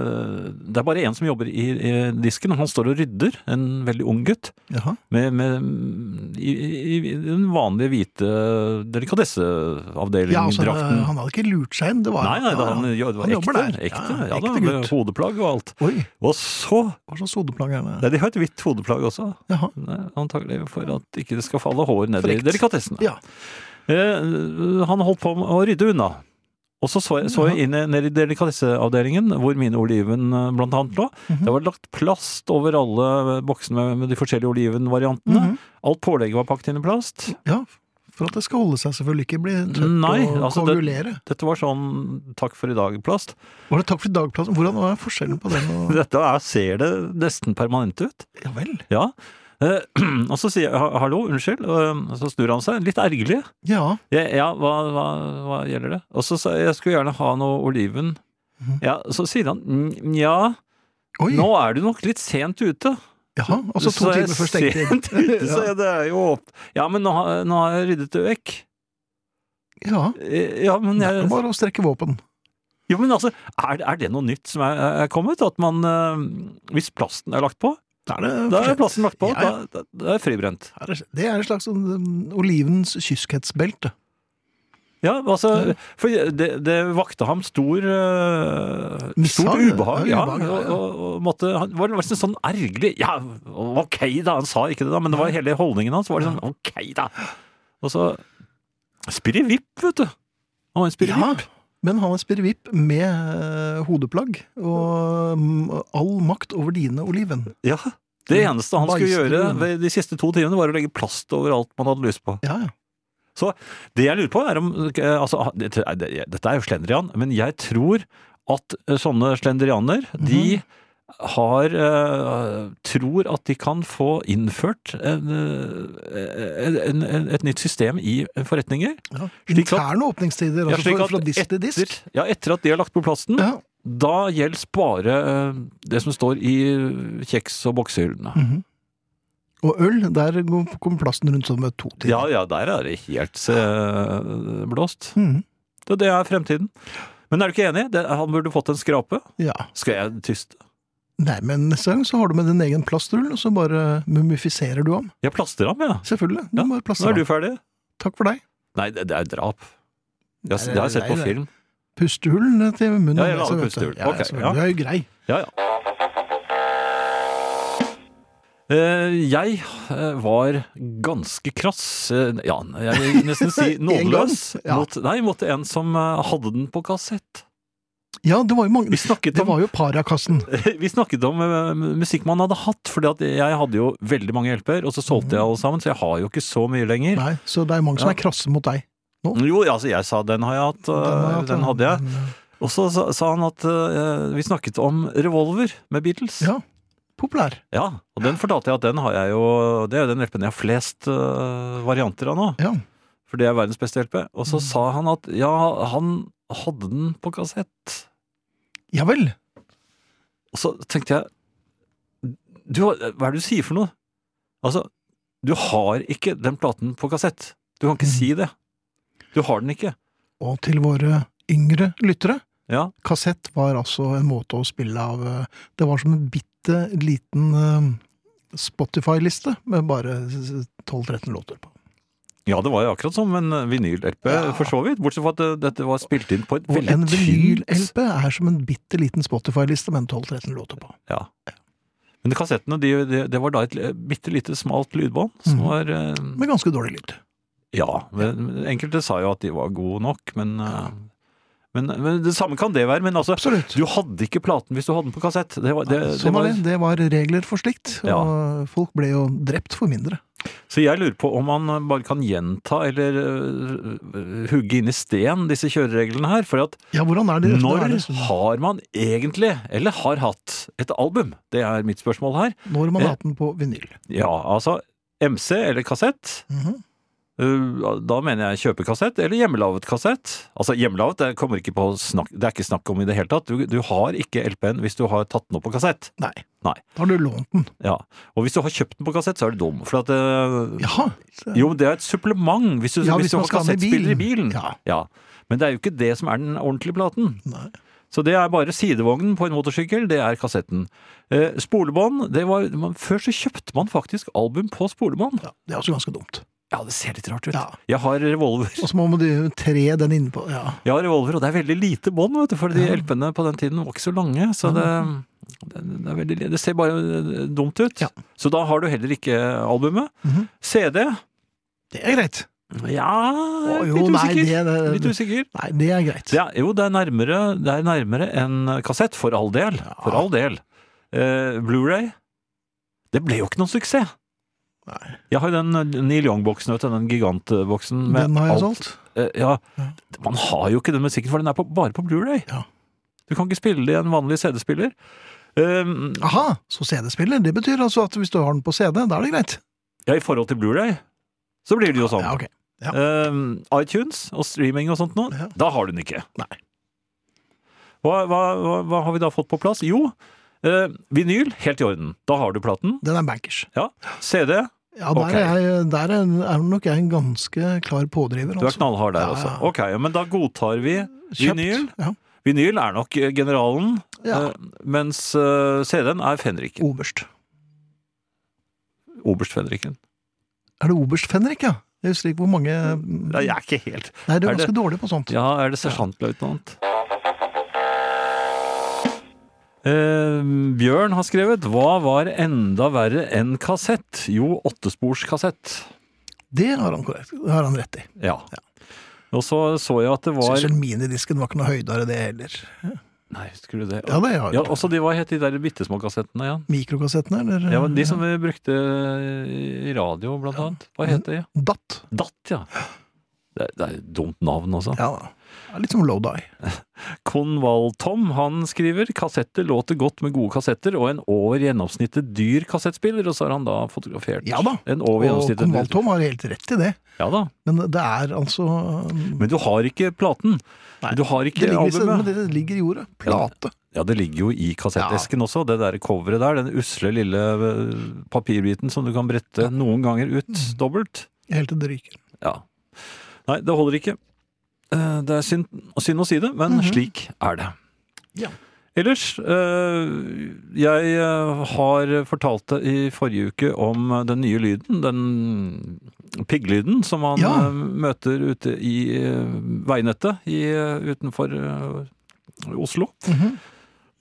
Speaker 3: Det er bare én som jobber i, i disken. Han står og rydder, en veldig ung gutt.
Speaker 2: Jaha.
Speaker 3: Med, med, i, i, I den vanlige hvite
Speaker 2: Ja, altså,
Speaker 3: delikatesseavdeling-drakten.
Speaker 2: han hadde ikke lurt seg inn. Det var,
Speaker 3: Nei, nei, da, han,
Speaker 2: ja, ja.
Speaker 3: jo, det var
Speaker 2: Han
Speaker 3: ekte,
Speaker 2: jobber der.
Speaker 3: ekte,
Speaker 2: Ja,
Speaker 3: ja, da,
Speaker 2: ekte
Speaker 3: med
Speaker 2: gutt.
Speaker 3: hodeplagg og alt.
Speaker 2: Oi,
Speaker 3: Og så
Speaker 2: hva slags hodeplagg er det?
Speaker 3: Nei, de har et hvitt hodeplagg også.
Speaker 2: Jaha.
Speaker 3: Nei, Antagelig for at ikke det skal falle hår ned i
Speaker 2: Frekt.
Speaker 3: delikatessen.
Speaker 2: Ja.
Speaker 3: Eh, han holdt på med å rydde unna. Og så så jeg, så jeg inn, i- ned i delikatesseavdelingen, hvor mine oliven eh, blant annet lå.
Speaker 2: Mhm.
Speaker 3: Det var lagt plast over alle eh, boksene med, med de forskjellige olivenvariantene.
Speaker 2: Mhm.
Speaker 3: Alt pålegget var pakket inn i plast.
Speaker 2: Ja, for at det skal holde seg selvfølgelig ikke bli trøtt
Speaker 3: Nei,
Speaker 2: og
Speaker 3: altså, det-
Speaker 2: konvulere.
Speaker 3: Dette var sånn takk for i dag-plast.
Speaker 2: Var det takk for dagplassen? Hvordan var forskjellen på den og
Speaker 3: Dette er, ser det nesten permanent ut.
Speaker 2: Ja vel.
Speaker 3: Ja. Eh, og så sier jeg ha- hallo, unnskyld, og eh, så snur han seg, litt ergerlig.
Speaker 2: Ja.
Speaker 3: Ja, ja hva, hva, hva gjelder det? Og så sa jeg jeg skulle gjerne ha noe oliven.
Speaker 2: Mhm.
Speaker 3: Ja, så sier han "Mm, ja,
Speaker 2: Oi.
Speaker 3: nå er du nok litt sent ute.
Speaker 2: Jaha, altså to
Speaker 3: Så jeg
Speaker 2: timer før
Speaker 3: sent
Speaker 2: stengetid.
Speaker 3: ute, så
Speaker 2: Ja.
Speaker 3: jeg, det er jo åp- Ja, men nå, har- nå har jeg ryddet det vekk.
Speaker 2: Ja.
Speaker 3: Eh, Ja, men
Speaker 2: Det er
Speaker 3: jeg
Speaker 2: ikke bare å strekke våpen.
Speaker 3: Jo, men altså, er, er det noe nytt som er, er kommet? At man eh, Hvis plasten er lagt på,
Speaker 2: Da er det
Speaker 3: da er
Speaker 2: forskjell.
Speaker 3: plasten lagt på.
Speaker 2: Ja, ja.
Speaker 3: Da, da, da er det fribrent.
Speaker 2: Her er- Det er et slags sånn, um, olivenens kyskhetsbelte. Ja.
Speaker 3: Ja, altså, for det, det vakte ham stor eh, Stort
Speaker 2: Mishag,
Speaker 3: ubehag,
Speaker 2: ja,
Speaker 3: ja.
Speaker 2: ubehag, ja, ja.
Speaker 3: Og, og måtte, han var liksom sånn ergerlig Ja, ok da, han sa ikke det da, men det var hele holdningen hans var liksom ok da. Og så Spirrevipp, vet du. Han var en
Speaker 2: Ja,
Speaker 3: spirrevipp.
Speaker 2: men han er spirrevipp med eh, hodeplagg og mm, all makt over dine oliven.
Speaker 3: Ja. Det
Speaker 2: Mm.
Speaker 3: eneste han skulle
Speaker 2: Bajsdruen.
Speaker 3: gjøre ved de siste to timene, var å legge plast over alt man hadde lyst på.
Speaker 2: Ja, ja.
Speaker 3: Det jeg lurer på er om eh, altså, dette, er- det- dette er jo slendrian, men jeg tror at eh, sånne slendrianer,
Speaker 2: Mhm.
Speaker 3: de har eh, tror at de kan få innført en, eh, en, en, en, et nytt system i forretninger.
Speaker 2: ja.
Speaker 3: Slik at-
Speaker 2: Interne åpningstider,
Speaker 3: Ja,
Speaker 2: altså
Speaker 3: slik
Speaker 2: fra,
Speaker 3: at
Speaker 2: fra disk til disk.
Speaker 3: Etter, ja, etter at de har lagt på plasten,
Speaker 2: Ja.
Speaker 3: da gjelder bare eh, det som står i eh, kjeks- og boksehyllene.
Speaker 2: mhm. Og øl, der går- kommer plassen rundt sånn med to timer.
Speaker 3: Ja, ja, der er det helt eh, blåst.
Speaker 2: Mhm.
Speaker 3: Det, det er fremtiden. Men er du ikke enig? Det, han burde fått en skrape.
Speaker 2: ja.
Speaker 3: Skal jeg tyste?
Speaker 2: Nei, men neste gang så har du med din egen plastrull, og så bare mumifiserer du ham.
Speaker 3: Jeg plaster ham, jeg.
Speaker 2: Selvfølgelig. Du
Speaker 3: Ja,
Speaker 2: må bare
Speaker 3: Nå
Speaker 2: plastre
Speaker 3: er du
Speaker 2: ham.
Speaker 3: ferdig.
Speaker 2: Takk for deg.
Speaker 3: Nei, det, det er drap. Jeg,
Speaker 2: Nei,
Speaker 3: det har jeg sett
Speaker 2: nei,
Speaker 3: på
Speaker 2: nei.
Speaker 3: film.
Speaker 2: Pustehullene til munnen.
Speaker 3: Ja, jeg
Speaker 2: altså, vet
Speaker 3: lager
Speaker 2: du.
Speaker 3: pustehull.
Speaker 2: Ja,
Speaker 3: Ok,
Speaker 2: ja, selvfølgelig.
Speaker 3: ja.
Speaker 2: Du er jo grei.
Speaker 3: Ja, ja. Eh, jeg eh, var ganske krass, eh, ja, jeg vil nesten si nådeløs,
Speaker 2: gang, ja.
Speaker 3: mot, nei, mot en som eh, hadde den på kassett.
Speaker 2: Ja, det var jo mange
Speaker 3: Vi snakket
Speaker 2: Det
Speaker 3: om,
Speaker 2: var jo parakassen.
Speaker 3: vi snakket om eh, musikk man hadde hatt, fordi at jeg hadde jo veldig mange hjelper, og så solgte jeg alle sammen, så jeg har jo ikke så mye lenger.
Speaker 2: Nei, så det er mange som
Speaker 3: Ja.
Speaker 2: er krasse mot deg.
Speaker 3: Jo, altså jeg sa den har jeg hatt,
Speaker 2: Den eh,
Speaker 3: øh,
Speaker 2: har jeg hatt,
Speaker 3: den
Speaker 2: ja.
Speaker 3: hadde jeg. Og så sa sa han at øh, vi snakket om Revolver med Beatles.
Speaker 2: Ja. Populær.
Speaker 3: Ja, og den fortalte jeg at den har jeg jo, det er jo den hjelpen jeg har flest øh, varianter av nå.
Speaker 2: Ja.
Speaker 3: For det er verdens beste hjelpe. Og så
Speaker 2: Mm.
Speaker 3: sa han at ja, han hadde den på kassett.
Speaker 2: Ja vel.
Speaker 3: Og så tenkte jeg, du, har- hva er det du sier for noe? Altså, du har ikke den platen på kassett. Du kan ikke
Speaker 2: Mm.
Speaker 3: si det. Du har den ikke.
Speaker 2: Og til våre yngre lyttere.
Speaker 3: Ja.
Speaker 2: Kassett var altså en måte å spille av eh, Det var som en bitte liten eh, Spotify-liste med bare s- s- 12-13 låter på.
Speaker 3: Ja, det var jo akkurat som en vinyl-LP,
Speaker 2: Ja.
Speaker 3: for så vidt. Bortsett fra at eh, dette var spilt inn på et
Speaker 2: Hvor
Speaker 3: veldig
Speaker 2: en
Speaker 3: tynt
Speaker 2: vinyl-LP er som en bitte liten Spotify-liste med 12-13 låter på.
Speaker 3: Ja. Men de kassettene, de, de, det var da et li- bitte lite smalt lydbånd som
Speaker 2: Mhm.
Speaker 3: var eh,
Speaker 2: Med ganske dårlig lyd.
Speaker 3: Ja. Men, men enkelte sa jo at de var gode nok, men, eh, men, men det samme kan det være. Men altså,
Speaker 2: Absolutt.
Speaker 3: du hadde ikke platen hvis du hadde den på kassett. Det var, det, det
Speaker 2: sånn
Speaker 3: var,
Speaker 2: var det. Det var regler for slikt.
Speaker 3: Ja.
Speaker 2: Og folk ble jo drept for mindre.
Speaker 3: Så jeg lurer på om man eh, bare kan gjenta eller eh, hugge inn i sten disse kjørereglene her. For at
Speaker 2: Ja, hvordan er det? Nå er
Speaker 3: når
Speaker 2: det sånn-
Speaker 3: har man egentlig, eller har hatt, et album? Det er mitt spørsmål her.
Speaker 2: Når man
Speaker 3: Ja.
Speaker 2: har hatt den på vinyl.
Speaker 3: Ja, altså MC eller kassett.
Speaker 2: Mhm.
Speaker 3: Uh, Da mener jeg kjøpekassett eller hjemmelaget kassett. Altså hjemmelaget det, kommer ikke på snakk, det er ikke snakk om i det hele tatt. Du, du har ikke LP-en hvis du har tatt den opp på kassett.
Speaker 2: Nei.
Speaker 3: Nei.
Speaker 2: Da har du lånt den.
Speaker 3: Ja. Og hvis du har kjøpt den på kassett, så er du dum. For at, uh,
Speaker 2: Jaha.
Speaker 3: Jo, det er et supplement hvis du,
Speaker 2: Ja,
Speaker 3: hvis
Speaker 2: hvis
Speaker 3: du
Speaker 2: man
Speaker 3: har
Speaker 2: skal ha den i
Speaker 3: kassettspiller i
Speaker 2: bilen.
Speaker 3: bilen.
Speaker 2: Ja.
Speaker 3: Men det er jo ikke det som er den ordentlige platen.
Speaker 2: Nei.
Speaker 3: Så det er bare sidevognen på en motorsykkel, det er kassetten. Eh, spolebånd, det var man, Før så kjøpte man faktisk album på spolebånd.
Speaker 2: Ja, det er også ganske dumt.
Speaker 3: Ja, det ser litt rart ut.
Speaker 2: Ja.
Speaker 3: Jeg har revolver.
Speaker 2: Og så må man jo tre den innpå. Ja.
Speaker 3: Jeg har revolver, og det er veldig lite bånd, vet du, for de LP-ene på den tiden var ikke så lange, så det, det, det, er veldig, det ser bare eh, dumt ut.
Speaker 2: Ja.
Speaker 3: Så da har du heller ikke albumet.
Speaker 2: Mhm.
Speaker 3: CD?
Speaker 2: Det er greit.
Speaker 3: Ja, jeg
Speaker 2: Å,
Speaker 3: er
Speaker 2: jo,
Speaker 3: litt
Speaker 2: nei,
Speaker 3: usikker.
Speaker 2: det- det-
Speaker 3: litt usikker.
Speaker 2: Nei, det er greit.
Speaker 3: Det er, jo, det er nærmere, det er nærmere en kassett, for all del. For all del. Eh, Blu-ray? Det ble jo ikke noen suksess.
Speaker 2: Nei.
Speaker 3: Jeg har jo den eh, Neil Young-boksen, vet du, den gigantboksen. med
Speaker 2: Den har jeg
Speaker 3: alt-
Speaker 2: solgt.
Speaker 3: Eh, ja,
Speaker 2: Ja.
Speaker 3: man har jo ikke den musikken, for den er på, bare på Blu-ray.
Speaker 2: Ja.
Speaker 3: Du kan ikke spille det i en vanlig CD-spiller. Um,
Speaker 2: Aha, så CD-spiller. Det betyr altså at hvis du har den på CD, da er det greit.
Speaker 3: ja, i forhold til Blu-ray, så blir det jo sånn.
Speaker 2: Ja, ok.
Speaker 3: Um, iTunes og streaming og sånt nå,
Speaker 2: Ja.
Speaker 3: da har du den ikke.
Speaker 2: Nei.
Speaker 3: Hva, hva, hva, hva har vi da fått på plass? Jo, eh, vinyl, helt i orden. Da har du platen.
Speaker 2: Den er bankers.
Speaker 3: Ja. CD,
Speaker 2: Ja, der,
Speaker 3: Ok.
Speaker 2: er, jeg, der er, er nok jeg en ganske klar pådriver.
Speaker 3: du er knallhard der
Speaker 2: Ja,
Speaker 3: også.
Speaker 2: ja.
Speaker 3: Ok, men da godtar vi
Speaker 2: Kjøpt.
Speaker 3: vinyl.
Speaker 2: Ja.
Speaker 3: Vinyl er nok eh, generalen,
Speaker 2: ja.
Speaker 3: eh, mens eh, CD-en er fenriken.
Speaker 2: Oberst.
Speaker 3: Oberstfenriken.
Speaker 2: Er det oberst Fenrik, ja? Jeg husker ikke hvor mange
Speaker 3: Mm.
Speaker 2: mm, Nei,
Speaker 3: jeg er ikke helt
Speaker 2: du
Speaker 3: er
Speaker 2: er
Speaker 3: det-
Speaker 2: ganske dårlig på sånt.
Speaker 3: Ja, er det sersjantløytnant? Eh, Bjørn har skrevet Hva var enda verre enn kassett? Jo, åttesporskassett.
Speaker 2: Det har han, korrekt, det har han rett i.
Speaker 3: Ja. Og så så jeg at det
Speaker 2: Var...
Speaker 3: var
Speaker 2: Selv minidisken var ikke noe høydere, det heller.
Speaker 3: Nei, husker du det?
Speaker 2: Ja, det har
Speaker 3: Ja,
Speaker 2: jeg.
Speaker 3: også de, hva het de der bitte små kassettene igjen?
Speaker 2: Mikrokassettene, eller?
Speaker 3: Ja, men de som vi brukte eh, i radio, blant annet. Hva het de?
Speaker 2: Datt.
Speaker 3: Datt, ja. Det er, det er et dumt navn altså. også.
Speaker 2: Ja da. Ja, Litt som low-die.
Speaker 3: Konvall-Tom han skriver kassetter låter godt med gode kassetter og en over gjennomsnittet dyr kassettspiller, og så har han da fotografert
Speaker 2: Ja da.
Speaker 3: en
Speaker 2: Og
Speaker 3: over gjennomsnittet dyr-
Speaker 2: Konvall-Tom har helt rett i det.
Speaker 3: Ja da.
Speaker 2: Men det er altså
Speaker 3: Men du har ikke platen.
Speaker 2: Nei,
Speaker 3: du har
Speaker 2: det
Speaker 3: ikke
Speaker 2: ligger, i stedet, men
Speaker 3: albumet.
Speaker 2: det ligger i jordet. Plate.
Speaker 3: Ja, det ligger jo i kassettesken også, det der coveret der. Den usle lille eh, papirbiten som du kan brette noen ganger ut
Speaker 2: Mm.
Speaker 3: dobbelt.
Speaker 2: Helt til det ryker.
Speaker 3: Ja. Nei, det holder ikke. Eh, Det er synd, synd å si det, men slik er det.
Speaker 2: Mhm. Ja.
Speaker 3: Ellers, eh, jeg eh, har fortalt det i forrige uke om eh, den nye lyden, den pigglyden som man
Speaker 2: Ja.
Speaker 3: eh, møter ute i eh, veinettet i, eh, utenfor eh, Oslo.
Speaker 2: Mhm.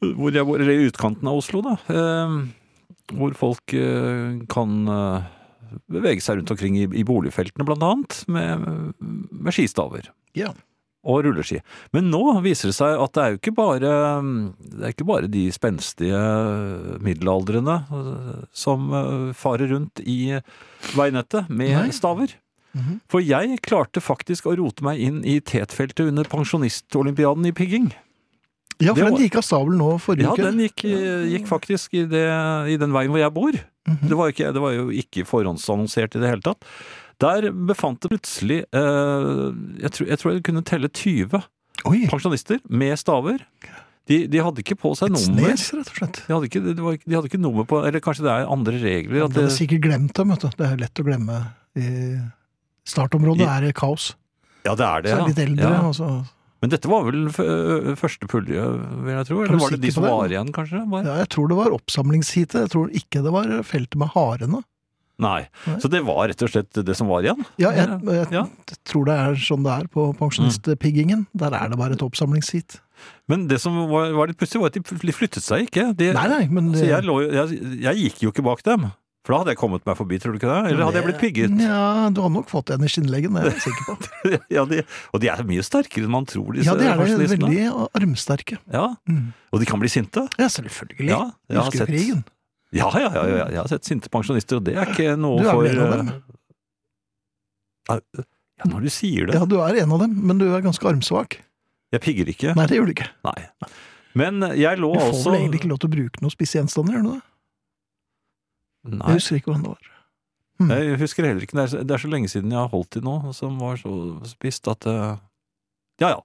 Speaker 3: Hvor jeg bor, eller i utkanten av Oslo, da. Eh, hvor folk eh, kan eh, bevege seg rundt omkring i, i boligfeltene, blant annet, med, med skistaver
Speaker 2: Ja.
Speaker 3: og rulleski. Men nå viser det seg at det er jo ikke bare, det er ikke bare de spenstige middelaldrende eh, som eh, farer rundt i veinettet med
Speaker 2: Nei.
Speaker 3: staver.
Speaker 2: Mhm.
Speaker 3: For jeg klarte faktisk å rote meg inn i tetfeltet under pensjonistolympiaden i pigging.
Speaker 2: Ja, for
Speaker 3: Det
Speaker 2: den
Speaker 3: var-
Speaker 2: gikk av stabelen nå forrige
Speaker 3: Ja,
Speaker 2: uke.
Speaker 3: den gikk, gikk faktisk i, det, i den veien hvor jeg bor.
Speaker 2: Mhm.
Speaker 3: det, var jo ikke, det var jo ikke forhåndsannonsert i det hele tatt. Der befant det plutselig eh, jeg, tror, jeg tror jeg kunne telle 20
Speaker 2: Oi,
Speaker 3: pensjonister med staver. De, de hadde ikke på seg
Speaker 2: et
Speaker 3: nummer.
Speaker 2: snes, rett og slett.
Speaker 3: De hadde, ikke, det var, ikke- de hadde ikke nummer på Eller kanskje det er andre regler?
Speaker 2: Du
Speaker 3: At
Speaker 2: hadde
Speaker 3: det,
Speaker 2: sikkert glemt dem, vet du. Det er lett å glemme. I startområdet er det kaos.
Speaker 3: ja, det er det.
Speaker 2: Så er det litt eldre,
Speaker 3: Ja.
Speaker 2: og så
Speaker 3: Men dette var vel f ø, første pulje, vil jeg tro?
Speaker 2: du
Speaker 3: Eller var det de
Speaker 2: sikker
Speaker 3: som
Speaker 2: på det?
Speaker 3: var igjen, kanskje? Bare?
Speaker 2: Ja, jeg tror det var oppsamlingsheatet. Jeg tror ikke det var feltet med harene.
Speaker 3: Nei.
Speaker 2: Nei.
Speaker 3: Så det var rett og slett det som var igjen?
Speaker 2: Ja, jeg, jeg
Speaker 3: Ja.
Speaker 2: tror det er sånn det er på pensjonistpiggingen. Der er det bare et oppsamlingsheat.
Speaker 3: Men det som var, var litt pussig, var at de plutselig flyttet seg ikke. De,
Speaker 2: Nei, nei, men eh,
Speaker 3: altså, jeg, lå, jo- jeg, jeg gikk jo ikke bak dem. For da hadde jeg kommet meg forbi, tror du ikke det? Eller hadde jeg blitt pigget?
Speaker 2: Ja, du hadde nok fått en i skinnleggen, det er jeg sikker på.
Speaker 3: ja, de, og de er mye sterkere enn man tror, disse
Speaker 2: Ja, de er det
Speaker 3: pensjonistene.
Speaker 2: veldig armsterke.
Speaker 3: Ja.
Speaker 2: Mm.
Speaker 3: Og de kan bli sinte.
Speaker 2: Ja, selvfølgelig.
Speaker 3: Ja, jeg har
Speaker 2: Husker
Speaker 3: sett-
Speaker 2: du krigen?
Speaker 3: Ja, ja, ja, ja, ja, jeg har sett sinte pensjonister, og det er ikke noe
Speaker 2: Du er
Speaker 3: for
Speaker 2: vel en av
Speaker 3: eh, au, Ja, når du sier det.
Speaker 2: Ja, du er en av dem, men du er ganske armsvak.
Speaker 3: Jeg pigger ikke.
Speaker 2: Nei, det gjør du ikke.
Speaker 3: Nei. Men jeg lå
Speaker 2: Du får
Speaker 3: altså
Speaker 2: vel egentlig ikke lov til å bruke noen spisse gjenstander, gjør du det?
Speaker 3: Nei,
Speaker 2: Jeg husker ikke hvordan det var.
Speaker 3: Jeg husker heller ikke, det er, så- det er så lenge siden jeg har holdt i nå, som var så spist at eh, Ja, ja.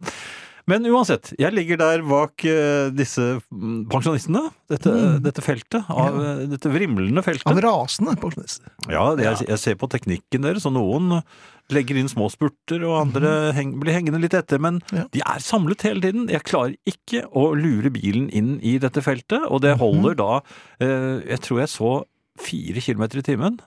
Speaker 3: Men uansett, jeg ligger der bak eh, disse mm, pensjonistene. Dette,
Speaker 2: Mm.
Speaker 3: dette feltet. Av, eh, Dette vrimlende feltet.
Speaker 2: Av rasende pensjonister.
Speaker 3: Ja, det, jeg, jeg ser på teknikken deres, og noen legger inn små spurter, og andre heng, blir hengende litt etter, men
Speaker 2: Mhm. Ja.
Speaker 3: de er samlet hele tiden. Jeg klarer ikke å lure bilen inn i dette feltet, og det
Speaker 2: Mhm.
Speaker 3: holder da eh, Jeg tror jeg så fire kilometer i timen.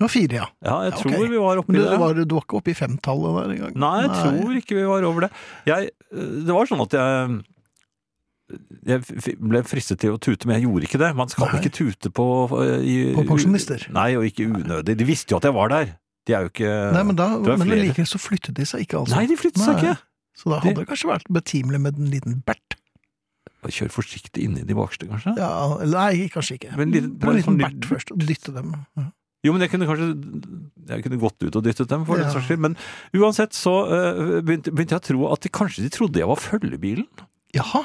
Speaker 2: Det var fire, ja.
Speaker 3: Ja, jeg
Speaker 2: Ja,
Speaker 3: tror
Speaker 2: ok.
Speaker 3: vi var oppi
Speaker 2: Men du
Speaker 3: det.
Speaker 2: var, du var ikke oppe i femtallet der engang?
Speaker 3: Nei, jeg tror ikke vi var over det. Jeg, det var sånn at jeg jeg f- ble fristet til å tute, men jeg gjorde ikke det. Man skal
Speaker 2: Nei.
Speaker 3: ikke tute på eh, i,
Speaker 2: På pensjonister.
Speaker 3: Nei, og ikke unødig. De visste jo at jeg var der. De er jo ikke
Speaker 2: Nei, men, da,
Speaker 3: Det var
Speaker 2: men
Speaker 3: flere.
Speaker 2: likevel så flyttet de seg ikke, altså.
Speaker 3: Nei, de flyttet
Speaker 2: Nei.
Speaker 3: seg ikke!
Speaker 2: Så da hadde det kanskje vært betimelig med en liten bert.
Speaker 3: Kjør forsiktig inni de bakste, kanskje.
Speaker 2: Ja, nei, kanskje ikke.
Speaker 3: Men liten-
Speaker 2: Bare en liten
Speaker 3: sånn
Speaker 2: bert
Speaker 3: liten-
Speaker 2: først, og dytte dem. Ja.
Speaker 3: Jo, men jeg kunne kanskje Jeg kunne gått ut og dyttet dem, for
Speaker 2: Ja.
Speaker 3: den saks skyld. Men uansett så eh, begynte, begynte jeg å tro at de kanskje de trodde jeg var følgebilen.
Speaker 2: Jaha.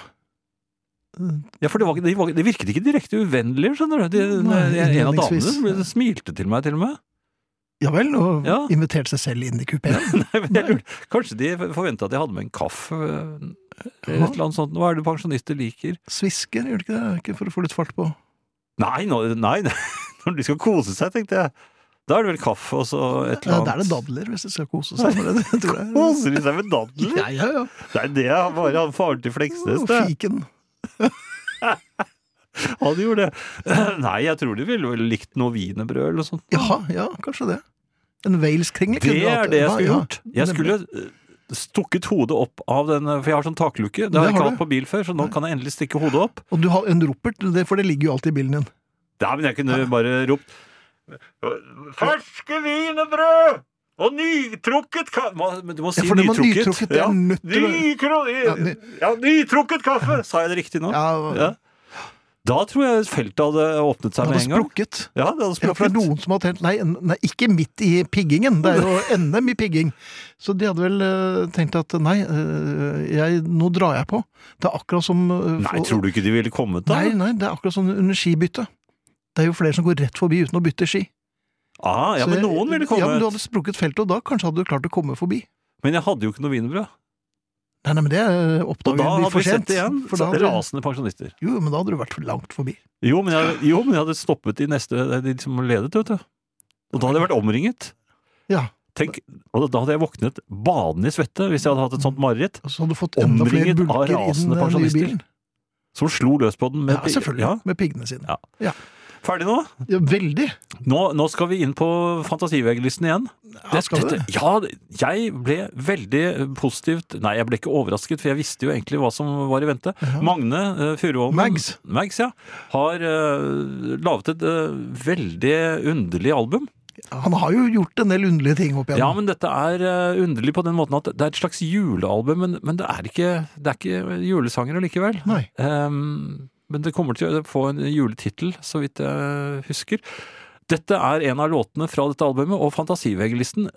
Speaker 3: Ja, for det, var, ikke- de, var, de virket ikke direkte uvennlige, skjønner du. De,
Speaker 2: Nei,
Speaker 3: en av damene
Speaker 2: innledningsvis.
Speaker 3: som ble- smilte til meg, til og med.
Speaker 2: Ja vel, og
Speaker 3: Ja.
Speaker 2: inviterte seg selv inn i kupeen.
Speaker 3: Nei, men jeg lurte. Kanskje de forventa at jeg hadde med en kaffe? øh, Eller
Speaker 2: Ja.
Speaker 3: et eller annet sånt. Hva er det pensjonister liker?
Speaker 2: Svisker, gjør det ikke det? Ikke for å få litt fart på.
Speaker 3: Nei, nå- nei, når de skal kose seg, tenkte jeg. Da er det vel kaffe og så et eller
Speaker 2: Ja,
Speaker 3: annet.
Speaker 2: da er det dadler, hvis de skal kose seg med det. det tror jeg.
Speaker 3: Koser de seg med dadler?
Speaker 2: Ja, ja, ja.
Speaker 3: Det er det jeg bare han faren til Fleksnes
Speaker 2: Og
Speaker 3: det.
Speaker 2: Fiken.
Speaker 3: Han gjorde det. Nei, jeg tror de ville vel likt noe wienerbrød eller noe sånt.
Speaker 2: Jaha, ja, kanskje det. En Wales-kringle kunne
Speaker 3: Det
Speaker 2: du hatt.
Speaker 3: er det jeg
Speaker 2: Ja,
Speaker 3: skulle
Speaker 2: ja.
Speaker 3: gjort. Jeg skulle øh, stukket hodet opp av den For jeg har sånn takluke. Det
Speaker 2: Det
Speaker 3: har jeg
Speaker 2: har
Speaker 3: ikke
Speaker 2: du.
Speaker 3: hatt på bil før, så nå kan jeg endelig stikke hodet opp.
Speaker 2: Og du har en ropert, det- for det ligger jo alltid i bilen din.
Speaker 3: Ja, men jeg kunne bare ropt Ferske wienerbrød! Og nytrukket kaffe Men du må si
Speaker 2: Ja, for det var
Speaker 3: nytrukket.
Speaker 2: nytrukket, det er nødt til å-
Speaker 3: Nykro-
Speaker 2: Ja, ny-
Speaker 3: ja, nytrukket kaffe! Sa jeg det riktig nå?
Speaker 2: Ja,
Speaker 3: Ja. Da tror jeg feltet hadde åpnet
Speaker 2: Det
Speaker 3: seg
Speaker 2: hadde
Speaker 3: med en gang.
Speaker 2: sprukket.
Speaker 3: Ja, det hadde
Speaker 2: Ja, for det er
Speaker 3: sprukket.
Speaker 2: noen som har tenkt nei, nei, ikke midt i piggingen. Det er jo NM i pigging. Så de hadde vel eh, tenkt at nei, eh, jeg, nå drar jeg på. Det er akkurat som eh,
Speaker 3: Nei, tror du ikke de ville kommet da?
Speaker 2: Nei, nei, det er akkurat som under skibytte. Det er jo flere som går rett forbi uten å bytte ski.
Speaker 3: Ah, ja,
Speaker 2: Så jeg-
Speaker 3: men noen ville
Speaker 2: Ja, men Du
Speaker 3: kommet.
Speaker 2: hadde sprukket feltet, og da kanskje hadde du klart å komme forbi.
Speaker 3: Men jeg hadde jo ikke noe wienerbrød.
Speaker 2: Nei, nei, men det eh,
Speaker 3: Og da
Speaker 2: oppdager vi
Speaker 3: hadde
Speaker 2: for
Speaker 3: vi
Speaker 2: sent.
Speaker 3: sett det igjen.
Speaker 2: For da hadde du-
Speaker 3: Rasende pensjonister.
Speaker 2: Jo, men da hadde du vært for langt forbi.
Speaker 3: Jo, men jeg, jo, men jeg hadde stoppet de neste De som ledet, vet du. Og da hadde jeg vært omringet.
Speaker 2: Ja,
Speaker 3: Tenk, og da hadde jeg våknet badende i svette hvis jeg hadde hatt et sånt mareritt,
Speaker 2: og Altså, så hadde du fått enda flere
Speaker 3: Omringet av
Speaker 2: bulker i den
Speaker 3: rasende
Speaker 2: eh, nye
Speaker 3: pensjonister.
Speaker 2: bilen.
Speaker 3: som slo løs på den. Med,
Speaker 2: Ja, selvfølgelig.
Speaker 3: Ja.
Speaker 2: Med piggene sine.
Speaker 3: Ferdig nå?
Speaker 2: Ja, veldig.
Speaker 3: nå? Nå skal vi inn på fantasiveggelisten igjen.
Speaker 2: Ja, skal vi det?
Speaker 3: ja, jeg ble veldig positivt Nei, jeg ble ikke overrasket, for jeg visste jo egentlig hva som var i vente. Magne uh, Furuholmen
Speaker 2: Mags.
Speaker 3: Mags, ja, har uh, laget et eh, veldig underlig album.
Speaker 2: Han har jo gjort en del underlige ting opp
Speaker 3: Ja,
Speaker 2: igjennom.
Speaker 3: men dette er eh, underlig på den måten at det er et slags julealbum, men, men det, er ikke, det er ikke julesanger allikevel.
Speaker 2: Nei.
Speaker 3: Ehm, men det kommer til å få en juletittel, så vidt jeg husker. Dette er en av låtene fra dette albumet, og Fantasivegelisten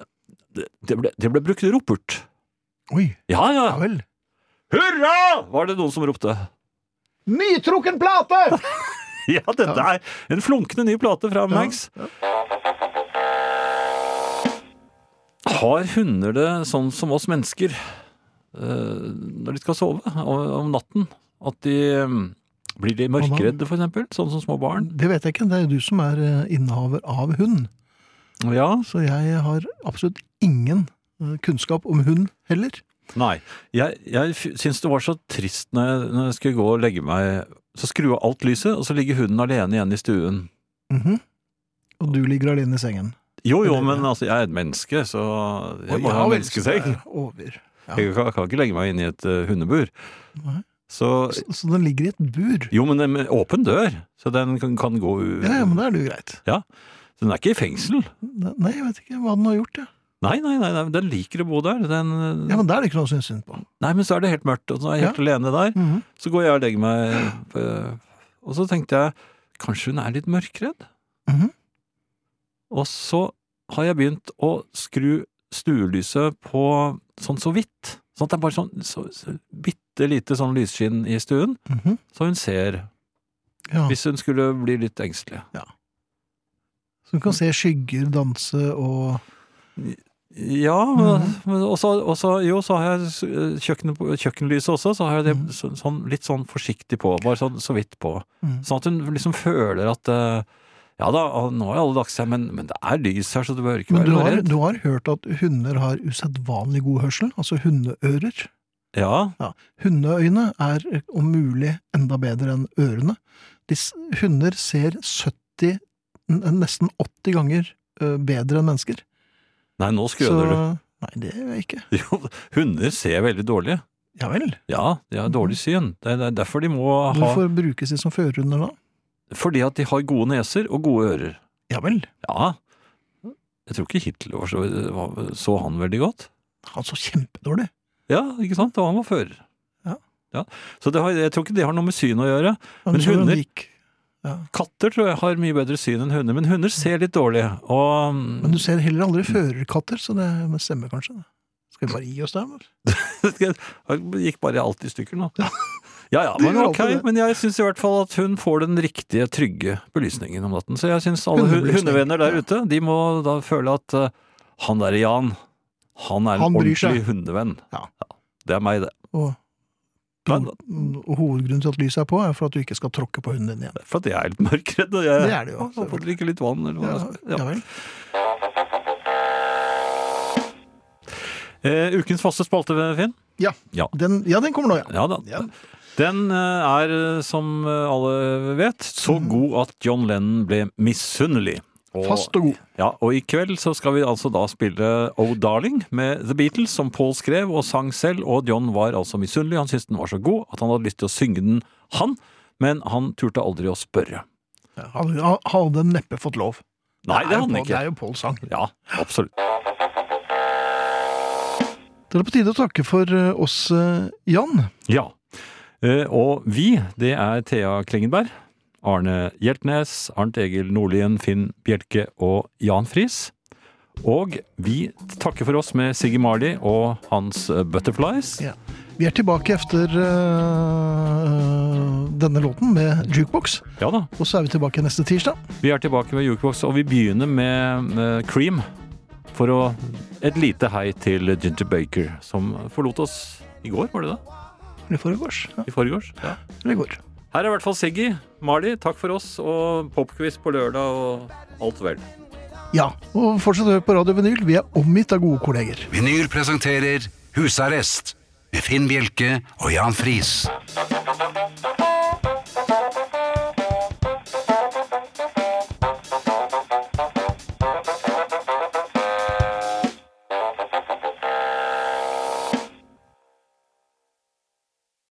Speaker 3: det, det, ble, det ble brukt ropert.
Speaker 2: Oi,
Speaker 3: Ja, ja!
Speaker 2: ja vel.
Speaker 3: Hurra! var det noen som ropte.
Speaker 2: Nytrukken plate!
Speaker 3: Ja, dette
Speaker 2: Ja.
Speaker 3: er en flunkende ny plate fra Max. Har hunder det sånn som oss mennesker eh, når de skal sove om om natten? At de eh, blir de mørkeredde, for eksempel? Sånn som små barn?
Speaker 2: Det vet jeg ikke, det er jo du som er eh, innehaver av hund.
Speaker 3: Ja.
Speaker 2: Så jeg har absolutt ingen eh, kunnskap om hund heller.
Speaker 3: Nei. Jeg, jeg f- syns det var så trist når jeg, når jeg skulle gå og legge meg Så skru av alt lyset, og så ligger hunden alene igjen i stuen.
Speaker 2: Mhm. Og du ligger alene i sengen.
Speaker 3: Jo jo,
Speaker 2: Eller-
Speaker 3: men altså, jeg er et menneske, så jeg må
Speaker 2: Oi,
Speaker 3: ha
Speaker 2: ja
Speaker 3: en
Speaker 2: vel, så det
Speaker 3: menneskeseng.
Speaker 2: er Over. Ja.
Speaker 3: Jeg kan, kan ikke legge meg inn i et eh, hundebur.
Speaker 2: Nei.
Speaker 3: Så,
Speaker 2: Så, så den ligger i et bur.
Speaker 3: jo, men det er med åpen dør, så den kan, kan gå u-
Speaker 2: Ja, ja, men da er det jo greit.
Speaker 3: Den er ikke i fengsel.
Speaker 2: Nei, jeg vet ikke hva den har gjort, ja.
Speaker 3: Nei, nei, nei, nei, den liker å bo der. Den, eh,
Speaker 2: Ja, men da er det ikke noe å synes synd på.
Speaker 3: Nei, men så er det helt mørkt, og så er jeg helt alene der.
Speaker 2: Mhm.
Speaker 3: Så går jeg og legger meg på- Og så tenkte jeg kanskje hun er litt mørkredd?
Speaker 2: Mhm.
Speaker 3: Og så har jeg begynt å skru stuelyset på sånn så vidt. Sånn at det er bare sånn så, så, bitte lite sånn lysskinn i stuen,
Speaker 2: Mhm.
Speaker 3: så hun ser
Speaker 2: ja.
Speaker 3: Hvis hun skulle bli litt engstelig.
Speaker 2: Ja. Så du kan se skygger danse og
Speaker 3: Ja,
Speaker 2: Mhm.
Speaker 3: men også, også, jo, så har jeg s- kjøkkenet, på- kjøkkenlyset også, så har jeg det så, sånn, litt sånn forsiktig på, bare sånn så vidt på.
Speaker 2: Mhm.
Speaker 3: Sånn at hun liksom føler at eh, ja da, ah, nå er alle dags her, men, men det er lys her, så du bør ikke
Speaker 2: Men
Speaker 3: være
Speaker 2: du
Speaker 3: noe
Speaker 2: har,
Speaker 3: redd.
Speaker 2: du har hørt at hunder har usedvanlig god hørsel, altså hundeører.
Speaker 3: Ja,
Speaker 2: Ja. Hundeøyne er eh, om mulig enda bedre enn ørene. De, s- hunder ser 70, n- nesten 80 ganger eh, bedre enn mennesker.
Speaker 3: nei, nå skrøner du.
Speaker 2: Nei, det gjør jeg ikke.
Speaker 3: Jo, hunder ser veldig dårlig.
Speaker 2: Ja vel.
Speaker 3: Ja, de har dårlig syn. Det er- det er derfor de må ha
Speaker 2: Hvorfor brukes de som førerhunder da?
Speaker 3: Fordi at de har gode neser og gode ører.
Speaker 2: Ja vel.
Speaker 3: Ja. Jeg tror ikke Hitler var så, var- så han veldig godt.
Speaker 2: Han så kjempedårlig.
Speaker 3: Ja, ikke sant? Og han var fører.
Speaker 2: Ja.
Speaker 3: Ja. Så det har, jeg tror ikke det har noe med syn å gjøre. Men
Speaker 2: du skjønner hvordan
Speaker 3: hunder-
Speaker 2: det gikk. Ja.
Speaker 3: Katter tror jeg har mye bedre syn enn hunder, men hunder ser litt dårlig. Og
Speaker 2: Men du ser heller
Speaker 3: Mm.
Speaker 2: aldri førerkatter, så det stemmer kanskje. det. Skal vi bare gi oss der? eller?
Speaker 3: det gikk bare alt i stykker nå. Ja ja,
Speaker 2: Det
Speaker 3: men
Speaker 2: gjør
Speaker 3: ok.
Speaker 2: alltid det.
Speaker 3: Men jeg syns i hvert fall at hun får den riktige, trygge belysningen om natten. Så jeg syns alle hu-
Speaker 2: Hundebelysning.
Speaker 3: hundevenner der
Speaker 2: Ja.
Speaker 3: ute, de må da føle at eh, han derre Jan, han er en
Speaker 2: Han bryr seg.
Speaker 3: ordentlig hundevenn.
Speaker 2: Ja.
Speaker 3: Det er meg, det.
Speaker 2: Og,
Speaker 3: Men-
Speaker 2: og Mm, hovedgrunnen til at lyset er på, er for at du ikke skal tråkke på hunden din igjen.
Speaker 3: Det er Fordi jeg er litt mørkredd, og jeg
Speaker 2: Det er det jo,
Speaker 3: jeg får drikke litt vann, eller hva
Speaker 2: Ja,
Speaker 3: jeg skal.
Speaker 2: ja vel.
Speaker 3: Eh, ukens faste spalte, Finn.
Speaker 2: Den, ja, den kommer nå, ja.
Speaker 3: Ja da.
Speaker 2: Ja.
Speaker 3: Den eh, er, eh, som eh, alle vet, så
Speaker 2: Mhm.
Speaker 3: god at John Lennon ble misunnelig. Og,
Speaker 2: Fast og god.
Speaker 3: ja, og i kveld så skal vi altså da spille Oh Darling med The Beatles, som Paul skrev og sang selv, og John var altså misunnelig. Han syntes den var så god at han hadde lyst til å synge den, han, men han turte aldri å spørre.
Speaker 2: Ja, Han han hadde neppe fått lov.
Speaker 3: Nei, det
Speaker 2: er jo
Speaker 3: hadde han
Speaker 2: Paul- Det
Speaker 3: ikke.
Speaker 2: er jo Pauls sang.
Speaker 3: Ja, absolutt.
Speaker 2: Det er på tide å takke for eh, oss, eh, Jan.
Speaker 3: Ja. Eh, Og vi, det er Thea Klingenberg, Arne Hjeltnes, Arnt Egil Nordlien, Finn Bjelke og Jan Friis. Og vi takker for oss med Siggy Marley og hans eh, Butterflies.
Speaker 2: Ja. Vi er tilbake etter eh, denne låten med jukebox,
Speaker 3: Ja da.
Speaker 2: og så er vi tilbake neste tirsdag.
Speaker 3: Vi er tilbake med Jukebox, og vi begynner med eh, Cream. For å Et lite hei til Ginger Baker, som forlot oss i går, var det det?
Speaker 2: I forgårs. Ja,
Speaker 3: I forgårs? Ja.
Speaker 2: eller i går.
Speaker 3: Her er i hvert fall Siggy. Marley, takk for oss, og popquiz på lørdag, og alt vel.
Speaker 2: Ja, og fortsett å høre på Radio Vinyl. Vi er omgitt av gode kolleger.
Speaker 1: Vinyl presenterer Husarrest med Finn Bjelke og Jan Friis.